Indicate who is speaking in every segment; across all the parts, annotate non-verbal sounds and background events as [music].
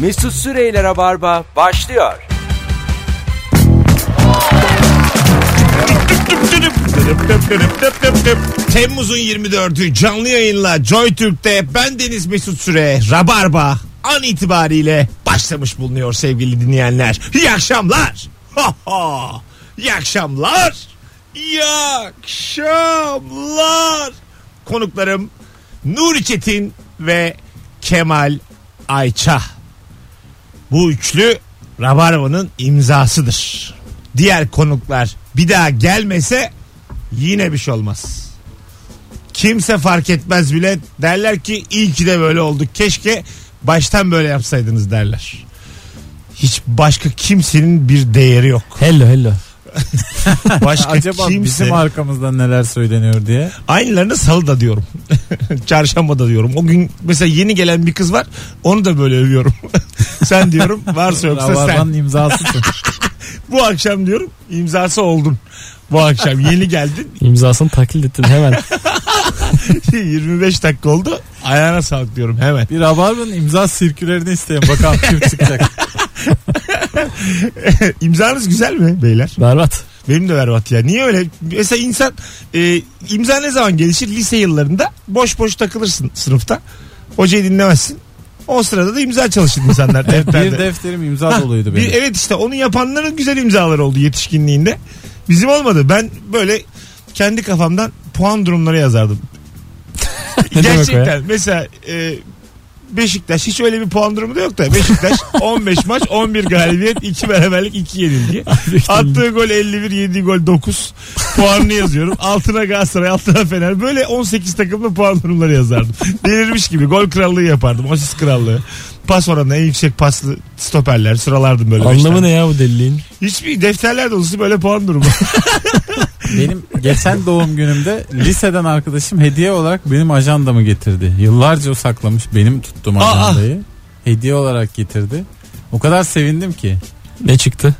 Speaker 1: Mesut Süreyler'e barba başlıyor.
Speaker 2: Temmuz'un 24'ü canlı yayınla Joy Türk'te ben Deniz Mesut Süre Rabarba an itibariyle başlamış bulunuyor sevgili dinleyenler. İyi akşamlar. Ha ha. İyi akşamlar. İyi akşamlar. Konuklarım Nuri Çetin ve Kemal Ayça. Bu üçlü Rabarba'nın imzasıdır. Diğer konuklar bir daha gelmese yine bir şey olmaz. Kimse fark etmez bile derler ki iyi ki de böyle olduk. Keşke baştan böyle yapsaydınız derler. Hiç başka kimsenin bir değeri yok.
Speaker 3: Hello hello.
Speaker 2: [laughs] Başka
Speaker 3: Acaba
Speaker 2: kimse.
Speaker 3: bizim arkamızdan neler söyleniyor diye.
Speaker 2: Aynılarını salı da diyorum. [laughs] Çarşamba da diyorum. O gün mesela yeni gelen bir kız var. Onu da böyle övüyorum. [laughs] sen diyorum varsa yoksa sen. [laughs]
Speaker 3: Rabarba'nın imzasısın.
Speaker 2: Bu akşam diyorum imzası oldun. Bu akşam yeni geldin. [laughs]
Speaker 4: İmzasını taklit ettim hemen.
Speaker 2: 25 dakika oldu. Ayağına sağlık diyorum hemen. [laughs]
Speaker 3: Bir Rabarba'nın imza sirkülerini isteyin. Bakalım
Speaker 4: [laughs]
Speaker 3: kim çıkacak.
Speaker 2: İmzanız güzel mi beyler?
Speaker 4: Berbat.
Speaker 2: Benim de berbat ya. Niye öyle? Mesela insan e, imza ne zaman gelişir? Lise yıllarında boş boş takılırsın sınıfta. Hocayı dinlemezsin. O sırada da imza çalışır insanlar defterde.
Speaker 3: bir defterim imza doluydu
Speaker 2: Bir-
Speaker 3: benim.
Speaker 2: evet işte onu yapanların güzel imzaları oldu yetişkinliğinde. Bizim olmadı. Ben böyle kendi kafamdan puan durumları yazardım.
Speaker 4: [laughs] Ne demek o ya?
Speaker 2: Gerçekten mesela e, Beşiktaş hiç öyle bir puan durumu da yok da
Speaker 4: [laughs]
Speaker 2: Beşiktaş 15 maç 11 galibiyet 2 beraberlik 2 yenilgi. Attığı gol 51 yediği gol 9 puanını yazıyorum. Altına Galatasaray altına Fener böyle 18 takımla puan durumları yazardım. Delirmiş gibi gol krallığı yapardım. Asist krallığı. Pas oranı en yüksek paslı stoperler sıralardım böyle. beş
Speaker 4: Anlamı
Speaker 2: tane.
Speaker 4: ne ya bu deliliğin?
Speaker 2: Hiçbir defterler dolusu böyle puan durumu.
Speaker 3: Benim geçen doğum günümde liseden arkadaşım hediye olarak benim ajandamı getirdi. Yıllarca o saklamış benim tuttuğum
Speaker 2: Aa.
Speaker 3: ajandayı. Hediye olarak getirdi. O kadar sevindim ki.
Speaker 4: Ne çıktı?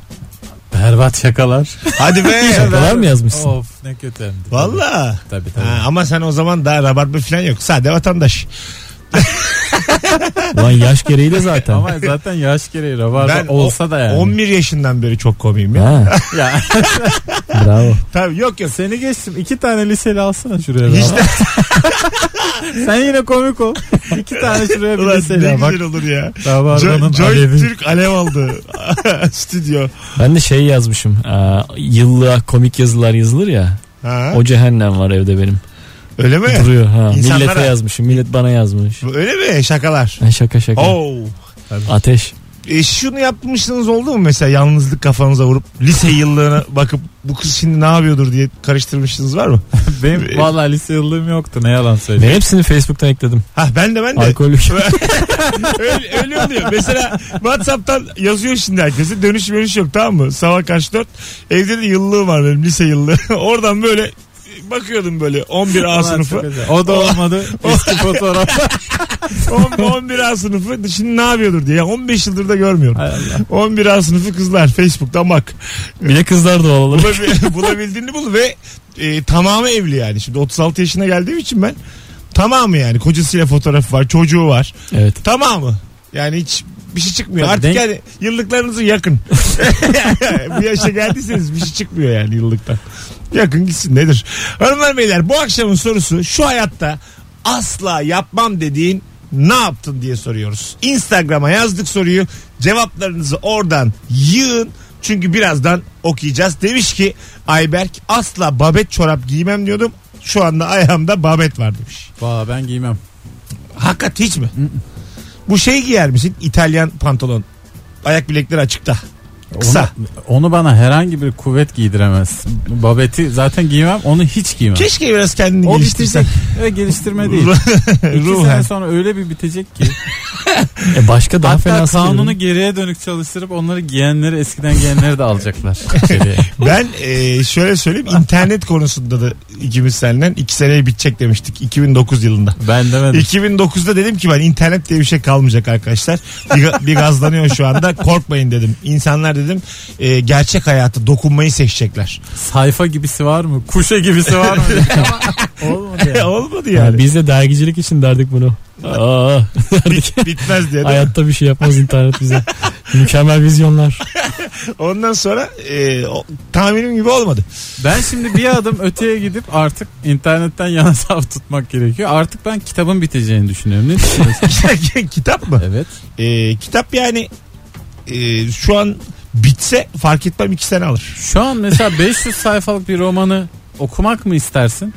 Speaker 3: Berbat şakalar.
Speaker 2: Hadi [laughs] be.
Speaker 4: Şakalar mı yazmışsın?
Speaker 3: Of ne kötü. hem de.
Speaker 2: Valla.
Speaker 3: Tabii tabii.
Speaker 2: Ha, ama sen o zaman daha rabarba falan yok. Sade vatandaş.
Speaker 4: Lan yaş gereğiyle zaten. [laughs]
Speaker 3: Ama zaten yaş gereği rabarba
Speaker 2: Ben
Speaker 3: olsa da yani.
Speaker 2: 11 yaşından beri çok komiyim ya.
Speaker 4: Ha,
Speaker 3: Ya,
Speaker 4: bravo.
Speaker 2: Tabii yok yok.
Speaker 3: seni geçtim. iki tane liseli alsana şuraya.
Speaker 2: Hiç
Speaker 3: rabarba. [laughs] Sen yine komik ol. İki tane şuraya bir
Speaker 2: Ulan ne
Speaker 3: liseli al. Bak
Speaker 2: güzel olur ya.
Speaker 3: rabarbanın
Speaker 2: Jo- Joy
Speaker 3: alevi.
Speaker 2: Türk alev aldı. [laughs] Stüdyo.
Speaker 4: Ben de şey yazmışım. Aa, yıllığa komik yazılar yazılır ya.
Speaker 2: Ha,
Speaker 4: O cehennem var evde benim.
Speaker 2: öyle mi?
Speaker 4: Duruyor. Ha.
Speaker 2: İnsanlara-
Speaker 4: Millete yazmışım. Millet bana yazmış.
Speaker 2: Öyle mi? Şakalar.
Speaker 4: Ha, şaka şaka.
Speaker 2: Oo.
Speaker 4: Ateş.
Speaker 2: E, şunu yapmışsınız oldu mu mesela yalnızlık kafanıza vurup lise yıllığına bakıp bu kız şimdi ne yapıyordur diye karıştırmışsınız var mı?
Speaker 3: Benim valla lise yıllığım yoktu ne yalan
Speaker 4: Ben
Speaker 3: söyleyeyim.
Speaker 4: hepsini Facebook'tan ekledim.
Speaker 2: Ha ben de ben de.
Speaker 4: Alkollü.
Speaker 2: [laughs] öyle, öyle oluyor. Mesela Whatsapp'tan yazıyor şimdi herkese. Dönüş dönüş yok tamam mı? Sabah kaç dört. Evde de yıllığım [laughs] var benim lise yıllığı. Oradan böyle bakıyordum böyle 11A
Speaker 3: Ulan çok
Speaker 2: sınıfı.
Speaker 3: güzel. [laughs] O da olmadı. Eski fotoğraf.
Speaker 2: 10, 11A sınıfı şimdi ne yapıyordur diye. Ya 15 yıldır da görmüyorum.
Speaker 3: Hay Allah.
Speaker 2: 11A sınıfı kızlar Facebook'tan bak.
Speaker 4: [laughs] Bir de kızlar doğal olarak.
Speaker 2: Bulabi- [laughs] bulabildiğini bul ve e, tamamı evli yani. Şimdi 36 yaşına geldiğim için ben tamamı yani kocasıyla fotoğrafı var, çocuğu var.
Speaker 4: Evet.
Speaker 2: Tamamı. Yani hiç bir şey çıkmıyor.
Speaker 3: Tabii
Speaker 2: Artık
Speaker 3: denk-
Speaker 2: yani yıllıklarınızı
Speaker 3: [laughs]
Speaker 2: yakın. [laughs] bu yaşa geldiyseniz bir şey çıkmıyor yani yıllıktan. Yakın gitsin nedir? Hanımlar beyler bu akşamın sorusu şu hayatta asla yapmam dediğin ne yaptın diye soruyoruz. Instagram'a yazdık soruyu. Cevaplarınızı oradan yığın. Çünkü birazdan okuyacağız. Demiş ki Ayberk asla babet çorap giymem diyordum. Şu anda ayağımda babet var demiş.
Speaker 3: Valla ben giymem.
Speaker 2: Hakikat hiç mi? Bu şey giyer misin? İtalyan pantolon. Ayak bilekleri açıkta. Kısa.
Speaker 3: Onu, onu bana herhangi bir kuvvet giydiremez. Babeti zaten giymem onu hiç giymem.
Speaker 2: Keşke biraz kendini
Speaker 3: o
Speaker 2: geliştirsen.
Speaker 3: bitecek. Ve geliştirme [laughs] değil. İki
Speaker 2: Ruhen.
Speaker 3: sene sonra öyle bir bitecek ki.
Speaker 4: E başka
Speaker 3: [laughs]
Speaker 4: daha
Speaker 3: Hatta
Speaker 4: fena
Speaker 3: kanunu geriye dönük çalıştırıp onları giyenleri eskiden giyenleri de [laughs] alacaklar. içeriye.
Speaker 2: Ben e, şöyle söyleyeyim. internet konusunda da ikimiz senden iki seneye bitecek demiştik. 2009 yılında.
Speaker 3: ben demedim.
Speaker 2: 2009'da dedim ki ben internet diye bir şey kalmayacak arkadaşlar. Bir, ga- bir gazlanıyor şu anda. Korkmayın dedim. İnsanlar dedim e, gerçek hayatı dokunmayı seçecekler.
Speaker 3: Sayfa gibisi var mı? Kuşa gibisi var mı? Ama olmadı yani.
Speaker 2: Olmadı
Speaker 4: Ya
Speaker 2: yani.
Speaker 4: biz de dergicilik için derdik bunu. Aa,
Speaker 2: Bit- bitmez diye. değil mi?
Speaker 4: Hayatta bir şey yapmaz internet bize. Mükemmel vizyonlar.
Speaker 2: Ondan sonra e, o- tahminim gibi olmadı.
Speaker 3: Ben şimdi bir adım öteye gidip artık internetten yana saf tutmak gerekiyor. Artık ben kitabın biteceğini düşünüyorum. Ne
Speaker 2: [laughs]
Speaker 3: düşünüyorsun?
Speaker 2: kitap mı?
Speaker 3: evet.
Speaker 2: E, kitap yani e, şu an bitse fark etmem iki sene alır.
Speaker 3: Şu an mesela 500 sayfalık bir romanı okumak mı istersin?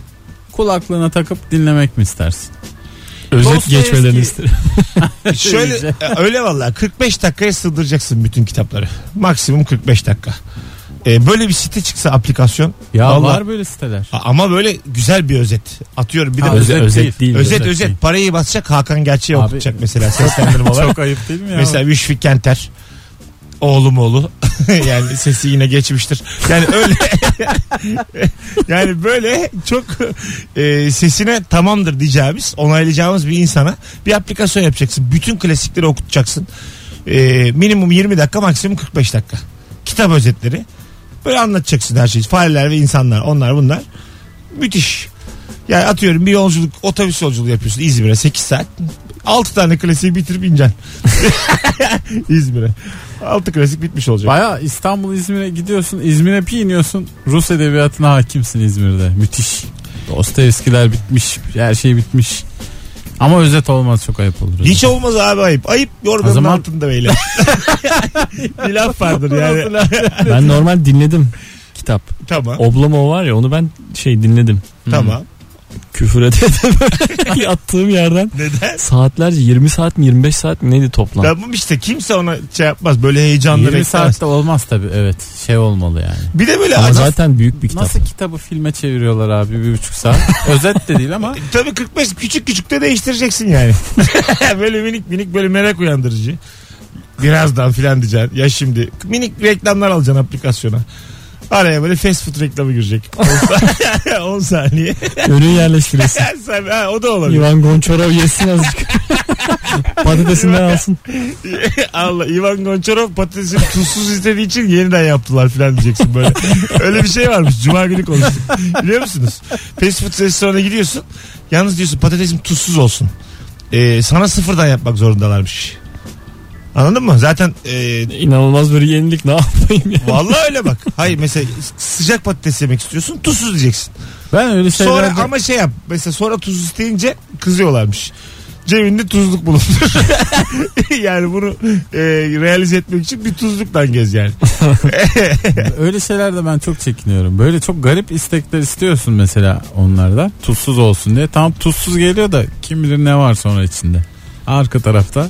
Speaker 3: Kulaklığına takıp dinlemek mi istersin?
Speaker 4: Özet
Speaker 3: Dostoyevski.
Speaker 4: geçmelerini isterim.
Speaker 2: [laughs] Şöyle e, öyle vallahi 45 dakikaya sığdıracaksın bütün kitapları. Maksimum 45 dakika. E, böyle bir site çıksa aplikasyon
Speaker 3: Ya
Speaker 2: Vallahi-
Speaker 3: var böyle siteler.
Speaker 2: a- ama böyle güzel bir özet. Atıyorum bir de
Speaker 3: Ha,
Speaker 2: özet
Speaker 3: özet
Speaker 4: Özet, özet
Speaker 3: değil.
Speaker 4: değil.
Speaker 2: özet,
Speaker 3: özet değil.
Speaker 2: parayı basacak Hakan Gerçeği
Speaker 3: Abi-
Speaker 2: okutacak mesela
Speaker 3: [laughs]
Speaker 2: seslendirme olarak.
Speaker 3: Çok ayıp değil mi ya?
Speaker 2: Mesela Müşfik Kenter. Oğlum oğlu. [laughs] yani sesi yine geçmiştir. Yani öyle. [laughs] yani böyle çok e, sesine tamamdır diyeceğimiz, onaylayacağımız bir insana bir aplikasyon yapacaksın. Bütün klasikleri okutacaksın. E, minimum 20 dakika, maksimum 45 dakika. Kitap özetleri. Böyle anlatacaksın her şeyi. Fareler ve insanlar, onlar bunlar. Müthiş. Yani atıyorum bir yolculuk, otobüs yolculuğu yapıyorsun İzmir'e 8 saat. 6 tane klasiği bitirip ineceksin. [laughs] İzmir'e. 6 klasik bitmiş olacak.
Speaker 3: Baya İstanbul İzmir'e gidiyorsun. İzmir'e bir iniyorsun. Rus edebiyatına hakimsin İzmir'de. Müthiş. Dostoyevskiler bitmiş. Her şey bitmiş. Ama özet olmaz çok ayıp olur.
Speaker 2: Hiç olmaz abi ayıp. Ayıp yorganın
Speaker 3: O zaman-
Speaker 2: altında beyler. bir laf vardır yani.
Speaker 4: Ben normal dinledim kitap.
Speaker 2: tamam.
Speaker 4: Oblomov var ya onu ben şey dinledim.
Speaker 2: Tamam.
Speaker 4: Küfür edemedim. [laughs] Yattığım yerden
Speaker 2: Neden?
Speaker 4: saatlerce 20 saat mi 25 saat mi neydi toplam?
Speaker 2: Tamam işte kimse ona şey yapmaz. Böyle heyecanlı
Speaker 3: 20
Speaker 2: beklemez.
Speaker 3: saatte olmaz tabi evet şey olmalı yani.
Speaker 2: Bir de böyle
Speaker 4: Ama
Speaker 2: adam-
Speaker 4: zaten büyük bir kitap.
Speaker 3: Nasıl kitabı filme çeviriyorlar abi bir buçuk saat? [laughs] Özet de değil ama
Speaker 2: Tabii 45 küçük küçük de değiştireceksin yani. [laughs] böyle minik minik böyle merak uyandırıcı. Birazdan filan diyeceksin. Ya şimdi minik reklamlar alacaksın aplikasyona. Araya böyle fast food reklamı [laughs] girecek. [laughs] 10 saniye. [laughs]
Speaker 4: Önü yerleştirirsin.
Speaker 2: Sen, ha, o da olabilir.
Speaker 4: İvan Gonçarov
Speaker 2: [laughs]
Speaker 4: yesin azıcık. Patatesinden alsın.
Speaker 2: Allah Ivan Gonçarov patatesi tuzsuz istediği için yeniden yaptılar filan diyeceksin böyle. Öyle bir şey varmış. Cuma günü konuştuk. Biliyor musunuz? Fast food restorana gidiyorsun. Yalnız diyorsun patatesim tuzsuz olsun. Ee, sana sıfırdan yapmak zorundalarmış. Anladın mı? Zaten e,
Speaker 4: İnanılmaz bir yenilik ne yapayım ya.
Speaker 2: vallahi öyle bak. Hayır mesela sıcak patates yemek istiyorsun tuzsuz diyeceksin.
Speaker 3: ben öyle
Speaker 2: Sonra
Speaker 3: şeylerde
Speaker 2: ama şey yap. Mesela sonra tuz isteyince kızıyorlarmış. Cebinde tuzluk bulundur. [laughs] yani bunu e, realize etmek için bir tuzluktan gez yani.
Speaker 3: öyle şeylerde ben çok çekiniyorum. Böyle çok garip istekler istiyorsun mesela onlarda. Tuzsuz olsun diye. Tam tuzsuz geliyor da kim bilir ne var sonra içinde. Arka tarafta.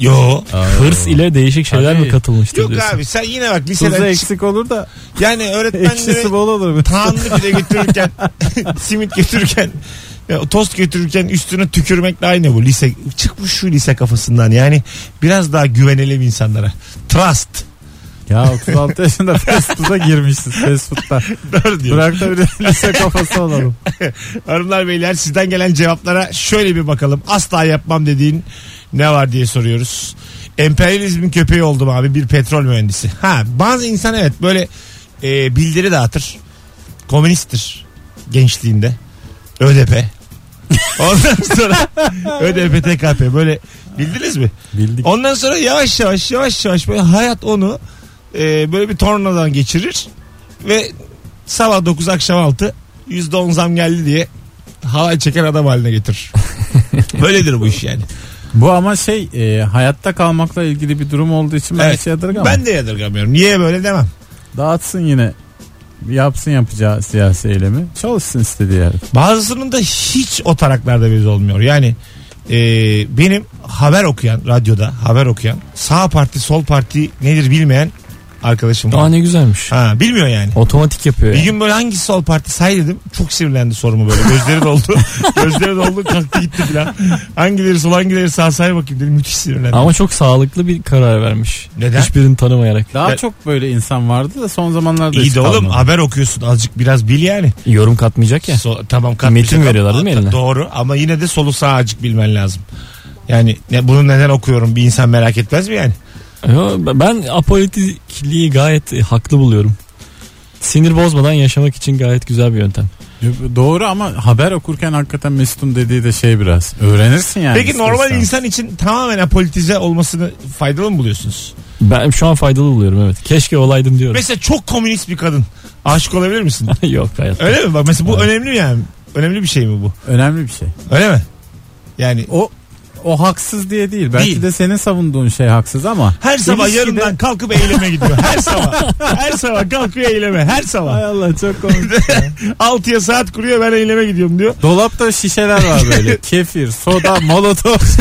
Speaker 2: Yo.
Speaker 4: Hırs ile değişik şeyler
Speaker 3: Tabii.
Speaker 4: mi katılmıştır
Speaker 2: Yok
Speaker 4: diyorsun.
Speaker 2: abi sen yine bak
Speaker 3: Tuzu
Speaker 2: liseden çık.
Speaker 3: eksik olur da
Speaker 2: Yani
Speaker 3: ekşisi
Speaker 2: öğretmenlere
Speaker 3: bol olur. mu?
Speaker 2: tahanlı bile götürürken [laughs] simit götürürken ya, tost götürürken üstüne tükürmekle aynı bu lise. Çıkmış şu lise kafasından yani biraz daha güvenelim insanlara. Trust. [laughs]
Speaker 3: Ya 36 yaşında [laughs] fast food'a girmişsin fast food'da.
Speaker 2: Doğru diyor.
Speaker 3: Bırak da bir de [laughs] lise kafası olalım.
Speaker 2: Hanımlar beyler sizden gelen cevaplara şöyle bir bakalım. Asla yapmam dediğin ne var diye soruyoruz. Emperyalizmin köpeği oldum abi bir petrol mühendisi. Ha bazı insan evet böyle e, bildiri dağıtır. Komünisttir gençliğinde. ÖDP. Ondan sonra ÖDP TKP böyle bildiniz mi?
Speaker 3: Bildik.
Speaker 2: Ondan sonra yavaş yavaş yavaş yavaş böyle hayat onu e, böyle bir tornadan geçirir ve sabah 9 akşam 6 %10 zam geldi diye halay çeken adam haline getirir. Böyledir bu iş yani.
Speaker 3: Bu ama şey e, hayatta kalmakla ilgili bir durum olduğu için ben
Speaker 2: Evet.
Speaker 3: şey yadırgamam.
Speaker 2: Ben de yadırgamıyorum. Niye böyle demem.
Speaker 3: Dağıtsın yine yapsın yapacağı siyasi eylemi. Çalışsın istediği yerde.
Speaker 2: Bazısının da hiç o taraklarda biz olmuyor. Yani e, benim haber okuyan radyoda haber okuyan sağ parti sol parti nedir bilmeyen arkadaşım
Speaker 4: Aa
Speaker 2: var.
Speaker 4: ne güzelmiş.
Speaker 2: Ha, bilmiyor yani.
Speaker 4: Otomatik yapıyor
Speaker 2: Bir
Speaker 4: yani.
Speaker 2: gün böyle hangi sol parti say dedim. Çok sinirlendi sorumu böyle. Gözleri doldu.
Speaker 4: [laughs]
Speaker 2: Gözleri doldu kalktı gitti filan. Hangileri sol hangileri sağ say bakayım dedim. Müthiş sinirlendi.
Speaker 4: Ama çok sağlıklı bir karar vermiş.
Speaker 2: Neden?
Speaker 4: Hiçbirini tanımayarak.
Speaker 3: Daha
Speaker 2: Ben-
Speaker 3: çok böyle insan vardı da son zamanlarda
Speaker 2: İyi
Speaker 3: hiç
Speaker 2: de oğlum
Speaker 3: kalmadı.
Speaker 2: haber okuyorsun azıcık biraz bil yani.
Speaker 4: Yorum katmayacak ya.
Speaker 2: So- tamam
Speaker 4: Metin
Speaker 2: katmayacak
Speaker 4: veriyorlar
Speaker 2: ama-
Speaker 4: değil mi eline?
Speaker 2: Doğru ama yine de solu sağ azıcık bilmen lazım. Yani ne, bunu neden okuyorum bir insan merak etmez mi yani?
Speaker 4: Yo, Ben apolitikliği gayet e, haklı buluyorum. Sinir bozmadan yaşamak için gayet güzel bir yöntem.
Speaker 3: Doğru ama haber okurken hakikaten Mesut'un dediği de şey biraz. Öğrenirsin yani.
Speaker 2: Peki normal
Speaker 3: istersen.
Speaker 2: insan için tamamen apolitize olmasını faydalı mı buluyorsunuz?
Speaker 4: Ben şu an faydalı buluyorum evet. Keşke olaydım diyorum.
Speaker 2: Mesela çok komünist bir kadın. Aşık olabilir misin?
Speaker 4: [laughs] Yok hayatta.
Speaker 2: Öyle mi? Bak mesela bu önemli mi yani? Önemli bir şey mi bu?
Speaker 3: Önemli bir şey.
Speaker 2: Öyle mi? Yani
Speaker 3: O o haksız diye değil. Belki
Speaker 2: Değil.
Speaker 3: de senin savunduğun şey
Speaker 2: [laughs]
Speaker 3: haksız ama.
Speaker 2: her sabah
Speaker 3: İlişkide-
Speaker 2: yarından kalkıp eyleme gidiyor. Her sabah. Her sabah kalkıyor eyleme. Her [laughs] sabah.
Speaker 3: Allah çok komik.
Speaker 2: 6'ya saat kuruyor ben eyleme gidiyorum diyor.
Speaker 3: Dolapta şişeler var böyle. [laughs] Kefir, soda, [laughs] molotof.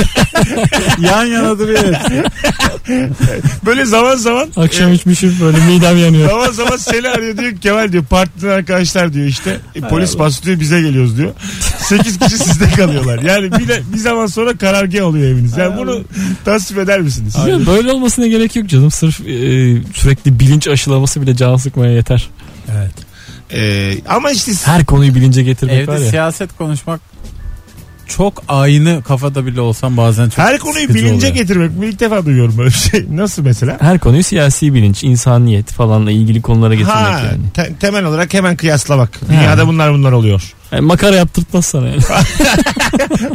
Speaker 3: Yan yana duruyor. hepsi.
Speaker 2: Böyle zaman zaman
Speaker 4: [laughs] Akşam içmişim böyle midem yanıyor.
Speaker 2: Zaman zaman seni arıyor diyor ki Kemal diyor partiden arkadaşlar diyor işte E, polis bastı diyor bize geliyoruz diyor. 8 kişi sizde kalıyorlar. Yani bir, de, bir zaman sonra karargah oluyor eviniz. Yani bunu tasvip eder misiniz?
Speaker 4: Ya böyle olmasına gerek yok canım. Sırf e, sürekli bilinç aşılaması bile can sıkmaya yeter.
Speaker 2: Ee, ama işte
Speaker 4: Her konuyu bilince getirmek var
Speaker 3: Evde
Speaker 4: ya.
Speaker 3: siyaset konuşmak çok aynı kafada bile olsam bazen çok
Speaker 2: her konuyu
Speaker 3: sıkıcı
Speaker 2: bilince
Speaker 3: oluyor.
Speaker 2: getirmek mi? İlk defa duyuyorum böyle bir şey. Nasıl mesela?
Speaker 4: Her konuyu siyasi bilinç, insaniyet falanla ilgili konulara getirmek
Speaker 2: Ha,
Speaker 4: yani.
Speaker 2: te- temel olarak hemen kıyaslamak. Dünyada bunlar bunlar
Speaker 4: [laughs]
Speaker 2: oluyor.
Speaker 4: Yani E, Makara yaptırtmaz sana yani.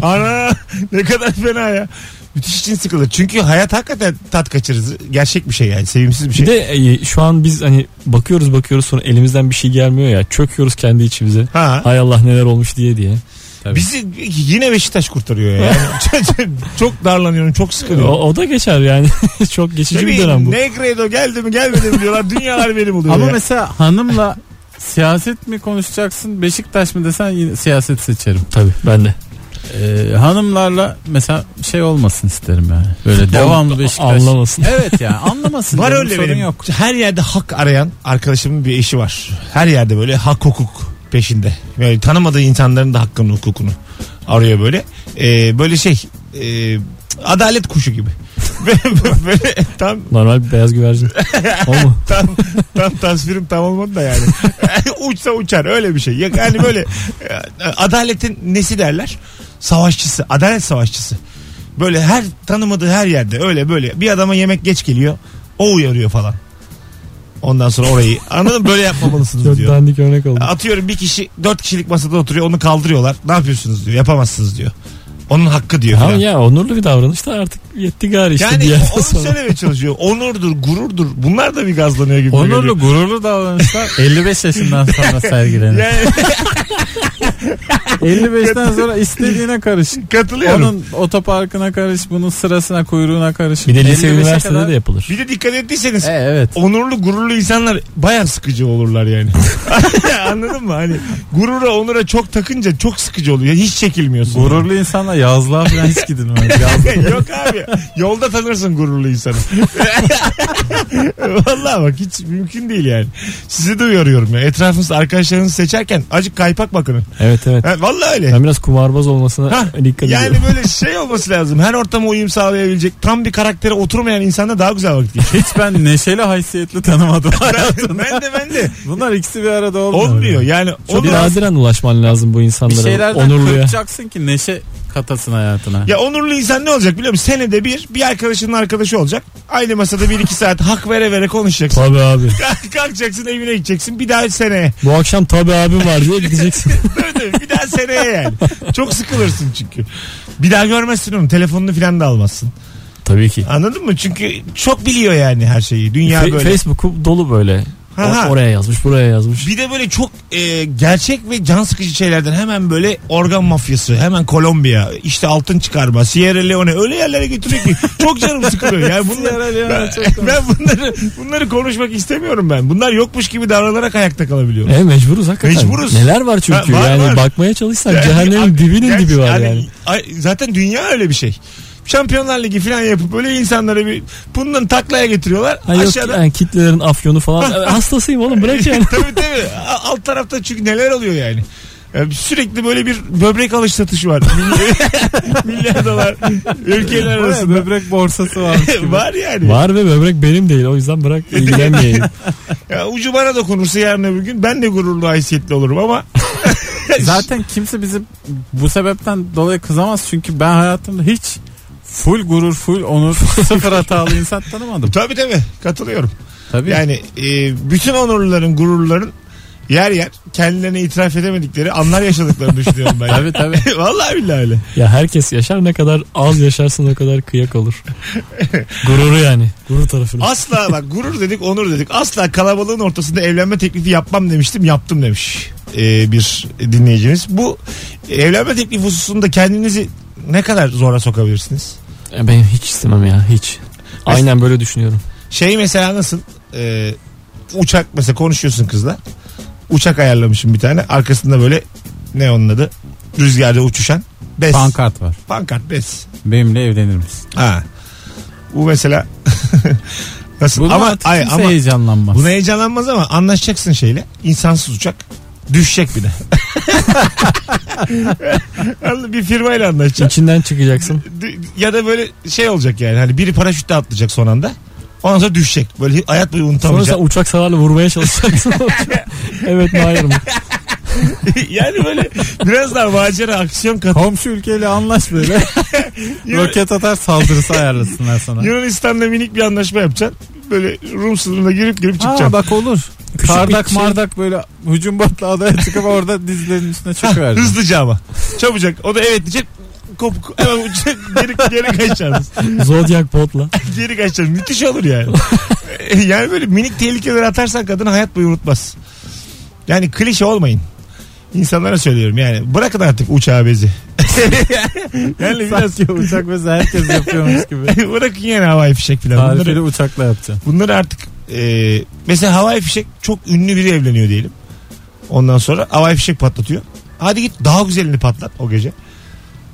Speaker 2: Ana ne kadar fena ya. Müthiş için sıkılır. Çünkü hayat hakikaten tat kaçırır. Gerçek bir şey yani. Sevimsiz bir şey.
Speaker 4: Bir de e, şu an biz hani bakıyoruz bakıyoruz sonra elimizden bir şey gelmiyor ya. Çöküyoruz kendi içimize.
Speaker 2: Ha.
Speaker 4: Hay Allah neler olmuş diye diye.
Speaker 3: Tabii.
Speaker 2: Bizi yine Beşiktaş kurtarıyor yani. [laughs] Çok- çok darlanıyorum, çok
Speaker 4: O,
Speaker 2: sıkılıyorum.
Speaker 4: o da geçer yani. [laughs] Çok geçici bir dönem bu.
Speaker 2: Negredo geldi mi gelmedi mi diyorlar. Dünyalar benim oluyor.
Speaker 3: Ama
Speaker 2: ya.
Speaker 3: mesela hanımla siyaset mi konuşacaksın Beşiktaş mı desen yine siyaset seçerim.
Speaker 4: Tabii ben de.
Speaker 3: Ee, hanımlarla mesela şey olmasın isterim yani. Böyle devamlı Beşiktaş.
Speaker 4: Anlamasın.
Speaker 3: Evet yani [laughs] anlamasın.
Speaker 2: var
Speaker 3: Benim
Speaker 2: öyle
Speaker 3: sorun
Speaker 2: benim.
Speaker 3: yok.
Speaker 2: Her yerde hak arayan arkadaşımın bir eşi var. Her yerde böyle hak hukuk peşinde. Yani tanımadığı insanların da hakkını hukukunu arıyor böyle. Ee, böyle şey e, adalet kuşu gibi. [laughs] Böyle- böyle tam
Speaker 4: Normal bir beyaz güvercin. o mu?
Speaker 2: tam, tam tasvirim tam olmadı da yani. [laughs] Uçsa uçar öyle bir şey. Yani böyle e, adaletin nesi derler? Savaşçısı, adalet savaşçısı. Böyle her tanımadığı her yerde öyle böyle bir adama yemek geç geliyor. O uyarıyor falan. Ondan sonra orayı anladın mı? böyle yapmamalısınız
Speaker 4: Çok
Speaker 2: diyor.
Speaker 4: dandik örnek oldu.
Speaker 2: Atıyorum bir kişi dört kişilik masada oturuyor onu kaldırıyorlar. Ne yapıyorsunuz diyor yapamazsınız diyor. Onun hakkı diyor.
Speaker 4: Ama
Speaker 2: falan.
Speaker 4: ya onurlu bir davranış da artık yetti gari işte bir
Speaker 2: Yani
Speaker 4: yerden [laughs]
Speaker 2: onu
Speaker 4: sonra.
Speaker 2: söylemeye çalışıyor. Onurdur, gururdur. Bunlar da bir gazlanıyor gibi. geliyor.
Speaker 3: Onurlu gururlu davranışlar 55 yaşından [laughs] sonra sergilenir.
Speaker 2: Yani
Speaker 3: 55'ten sonra istediğine karış.
Speaker 2: katılıyorum.
Speaker 3: Onun otoparkına karış, bunun sırasına kuyruğuna karış.
Speaker 4: Bir de lise
Speaker 3: 55'e
Speaker 4: üniversitede
Speaker 3: kadar-
Speaker 4: de yapılır.
Speaker 2: Bir de dikkat ettiyseniz
Speaker 3: E, evet.
Speaker 2: onurlu gururlu insanlar baya sıkıcı olurlar yani. [laughs] Anladın mı? Hani gurura onura çok takınca çok sıkıcı oluyor. Hiç çekilmiyorsun.
Speaker 3: Gururlu insanla yazlığa falan hiç gidilmez. [laughs]
Speaker 2: [laughs]
Speaker 3: Yazlığa
Speaker 2: Yok abi. Yolda tanırsın gururlu insanı. [laughs] Vallahi bak hiç mümkün değil yani. Sizi de uyarıyorum ya. Etrafınızda arkadaşlarınızı seçerken acık kaypak bakının.
Speaker 4: Evet evet.
Speaker 2: Ha, vallahi öyle.
Speaker 4: Ben biraz kumarbaz olmasına
Speaker 2: Hah,
Speaker 4: dikkat
Speaker 2: Yani
Speaker 4: ediyorum.
Speaker 2: böyle şey olması lazım. Her ortama uyum sağlayabilecek tam bir karaktere oturmayan insanda daha güzel vakit
Speaker 3: [laughs]
Speaker 2: geçiyor.
Speaker 3: Hiç ben neşeli haysiyetli tanımadım. [laughs]
Speaker 2: ben de ben de.
Speaker 3: Bunlar ikisi bir arada olmuyor.
Speaker 2: Olmuyor yani.
Speaker 4: Çok
Speaker 2: onur-
Speaker 4: nadiren ulaşman lazım bu
Speaker 3: Bir
Speaker 4: insanlara.
Speaker 3: şeylerden
Speaker 4: onurluya.
Speaker 3: kırpacaksın ki neşe katasın hayatına.
Speaker 2: Ya onurlu insan ne olacak biliyor musun? Senede bir bir arkadaşının arkadaşı olacak. Aynı masada bir iki saat hak vere vere konuşacaksın.
Speaker 4: [laughs] Tabii abi.
Speaker 2: Kalk- Kalkacaksın evine gideceksin. Bir daha seneye.
Speaker 4: Bu akşam tabii abim var diye gideceksin.
Speaker 2: Tabii tabii, bir daha seneye yani. Çok sıkılırsın çünkü. Bir daha görmezsin onu. Telefonunu falan da almazsın.
Speaker 4: tabii ki.
Speaker 2: Anladın mı? Çünkü çok biliyor yani her şeyi. Dünya
Speaker 4: Fe-
Speaker 2: böyle.
Speaker 4: Facebook dolu böyle. O-
Speaker 2: Ha, ha.
Speaker 4: oraya yazmış, buraya yazmış.
Speaker 2: Bir de böyle çok e, gerçek ve can sıkıcı şeylerden hemen böyle organ mafyası, hemen Kolombiya, işte altın çıkarma, Sierra Leone öyle yerlere götürüyor
Speaker 4: [laughs]
Speaker 2: ki çok canım sıkılıyor. Yani bunlar,
Speaker 3: Sierra Leone
Speaker 2: ben, ben bunları bunları konuşmak istemiyorum ben. Bunlar yokmuş gibi davranarak ayakta kalabiliyorum.
Speaker 4: E mecburuz hakikaten.
Speaker 2: Mecburuz.
Speaker 4: Neler var çünkü
Speaker 2: Ha, var,
Speaker 4: yani
Speaker 2: var.
Speaker 4: bakmaya çalışsan
Speaker 2: Yani
Speaker 4: cehennemin
Speaker 2: abi,
Speaker 4: dibinin
Speaker 2: gerçi
Speaker 4: dibi var yani.
Speaker 2: ay- zaten dünya öyle bir şey. Şampiyonlar Ligi falan yapıp böyle insanları bir bundan taklaya getiriyorlar.
Speaker 4: Ha, yok,
Speaker 2: Aşağıda
Speaker 4: yani kitlelerin afyonu falan. E, Hastasıyım oğlum bırak yani.
Speaker 2: [laughs] tabii tabii. A- Alt tarafta çünkü neler oluyor yani. Ee, Sürekli böyle bir böbrek alış satışı var. Milyar dolar ülkeler
Speaker 3: Buraya
Speaker 2: arasında.
Speaker 3: böbrek borsası varmış [laughs]
Speaker 2: [laughs]
Speaker 3: gibi.
Speaker 2: var yani.
Speaker 4: Var ve böbrek benim değil o
Speaker 2: [laughs]
Speaker 4: yüzden bırak ilgilenmeyin.
Speaker 2: Ya ucu bana dokunursa yarın öbür gün ben de gururlu haysiyetli olurum ama
Speaker 3: Zaten kimse bizi bu sebepten dolayı kızamaz çünkü ben hayatımda hiç full gurur, full [laughs] onur, sıfır hatalı insan tanımadım.
Speaker 2: tabii tabii katılıyorum.
Speaker 3: Tabii.
Speaker 2: Yani e, bütün onurluların gururların yer yer kendilerine itiraf edemedikleri anlar yaşadıklarını düşünüyorum ben.
Speaker 3: Tabii [laughs]
Speaker 2: [laughs]
Speaker 3: tabii.
Speaker 2: Vallahi billahi öyle.
Speaker 4: Ya herkes yaşar ne kadar az yaşarsın o kadar
Speaker 2: [laughs]
Speaker 4: kıyak olur. Gururu yani. Gurur tarafını.
Speaker 2: Asla bak gurur dedik onur dedik. Asla kalabalığın ortasında evlenme teklifi yapmam demiştim yaptım demiş ee, bir dinleyicimiz. Bu evlenme teklifi hususunda kendinizi ne kadar zora sokabilirsiniz?
Speaker 4: Ya Ben hiç istemem ya hiç. Aynen böyle düşünüyorum.
Speaker 2: Şey mesela nasıl? Ee, uçak mesela konuşuyorsun kızla. Uçak ayarlamışım bir tane. Arkasında böyle ne onun adı? Rüzgarda uçuşan. Bez.
Speaker 3: Pankart var.
Speaker 2: Pankart bez.
Speaker 3: Benimle evlenir misin?
Speaker 2: Ha. Bu mesela [laughs] nasıl?
Speaker 3: Bunu
Speaker 2: ama
Speaker 3: artık
Speaker 2: ay,
Speaker 3: kimse
Speaker 2: ama
Speaker 3: heyecanlanmaz.
Speaker 2: buna heyecanlanmaz ama anlaşacaksın şeyle. İnsansız uçak. Düşecek bir de. [laughs] Anladın mı? bir firmayla anlaşacaksın.
Speaker 4: İçinden çıkacaksın.
Speaker 2: D- Ya da böyle şey olacak yani. Hani biri paraşütle atlayacak son anda. Ondan sonra düşecek. Böyle hayat boyu
Speaker 4: Sonra
Speaker 2: unutamayacak.
Speaker 4: sen uçak savarla
Speaker 3: [laughs]
Speaker 4: vurmaya çalışacaksın. evet mi hayır mı?
Speaker 2: [laughs] yani böyle biraz daha macera aksiyon kat.
Speaker 3: Komşu ülkeyle
Speaker 2: [laughs]
Speaker 3: anlaş böyle.
Speaker 2: Yun-
Speaker 3: Roket atar saldırısı ayarlasınlar sana.
Speaker 2: Yunanistan'la minik bir anlaşma yapacaksın. Böyle Rum sınırına girip girip çıkacaksın.
Speaker 3: Aa bak olur.
Speaker 4: Küçük
Speaker 3: Kardak
Speaker 4: bir şey.
Speaker 3: mardak böyle hücum batlı adaya çıkıp orada dizlerinin üstüne çıkıverdi.
Speaker 2: Hızlıca ama. Çabucak. O da evet diyecek. Kopuk. Hemen uçacak. Geri, geri kaçacaksınız.
Speaker 4: Zodiac botla.
Speaker 2: Geri kaçacaksınız. Müthiş olur yani. yani böyle minik tehlikeler atarsan kadın hayat boyu unutmaz. Yani klişe olmayın. İnsanlara söylüyorum yani. Bırakın artık uçağı bezi. yani biraz
Speaker 3: Sanki uçak mesela herkes yapıyormuş
Speaker 2: [laughs]
Speaker 3: gibi.
Speaker 2: bırakın yani havai fişek falan. Bunları,
Speaker 3: Tarifeli uçakla yapacaksın.
Speaker 2: bunları artık e, mesela havai fişek çok ünlü biri evleniyor diyelim. Ondan sonra havai fişek patlatıyor. Hadi git daha güzelini patlat o gece.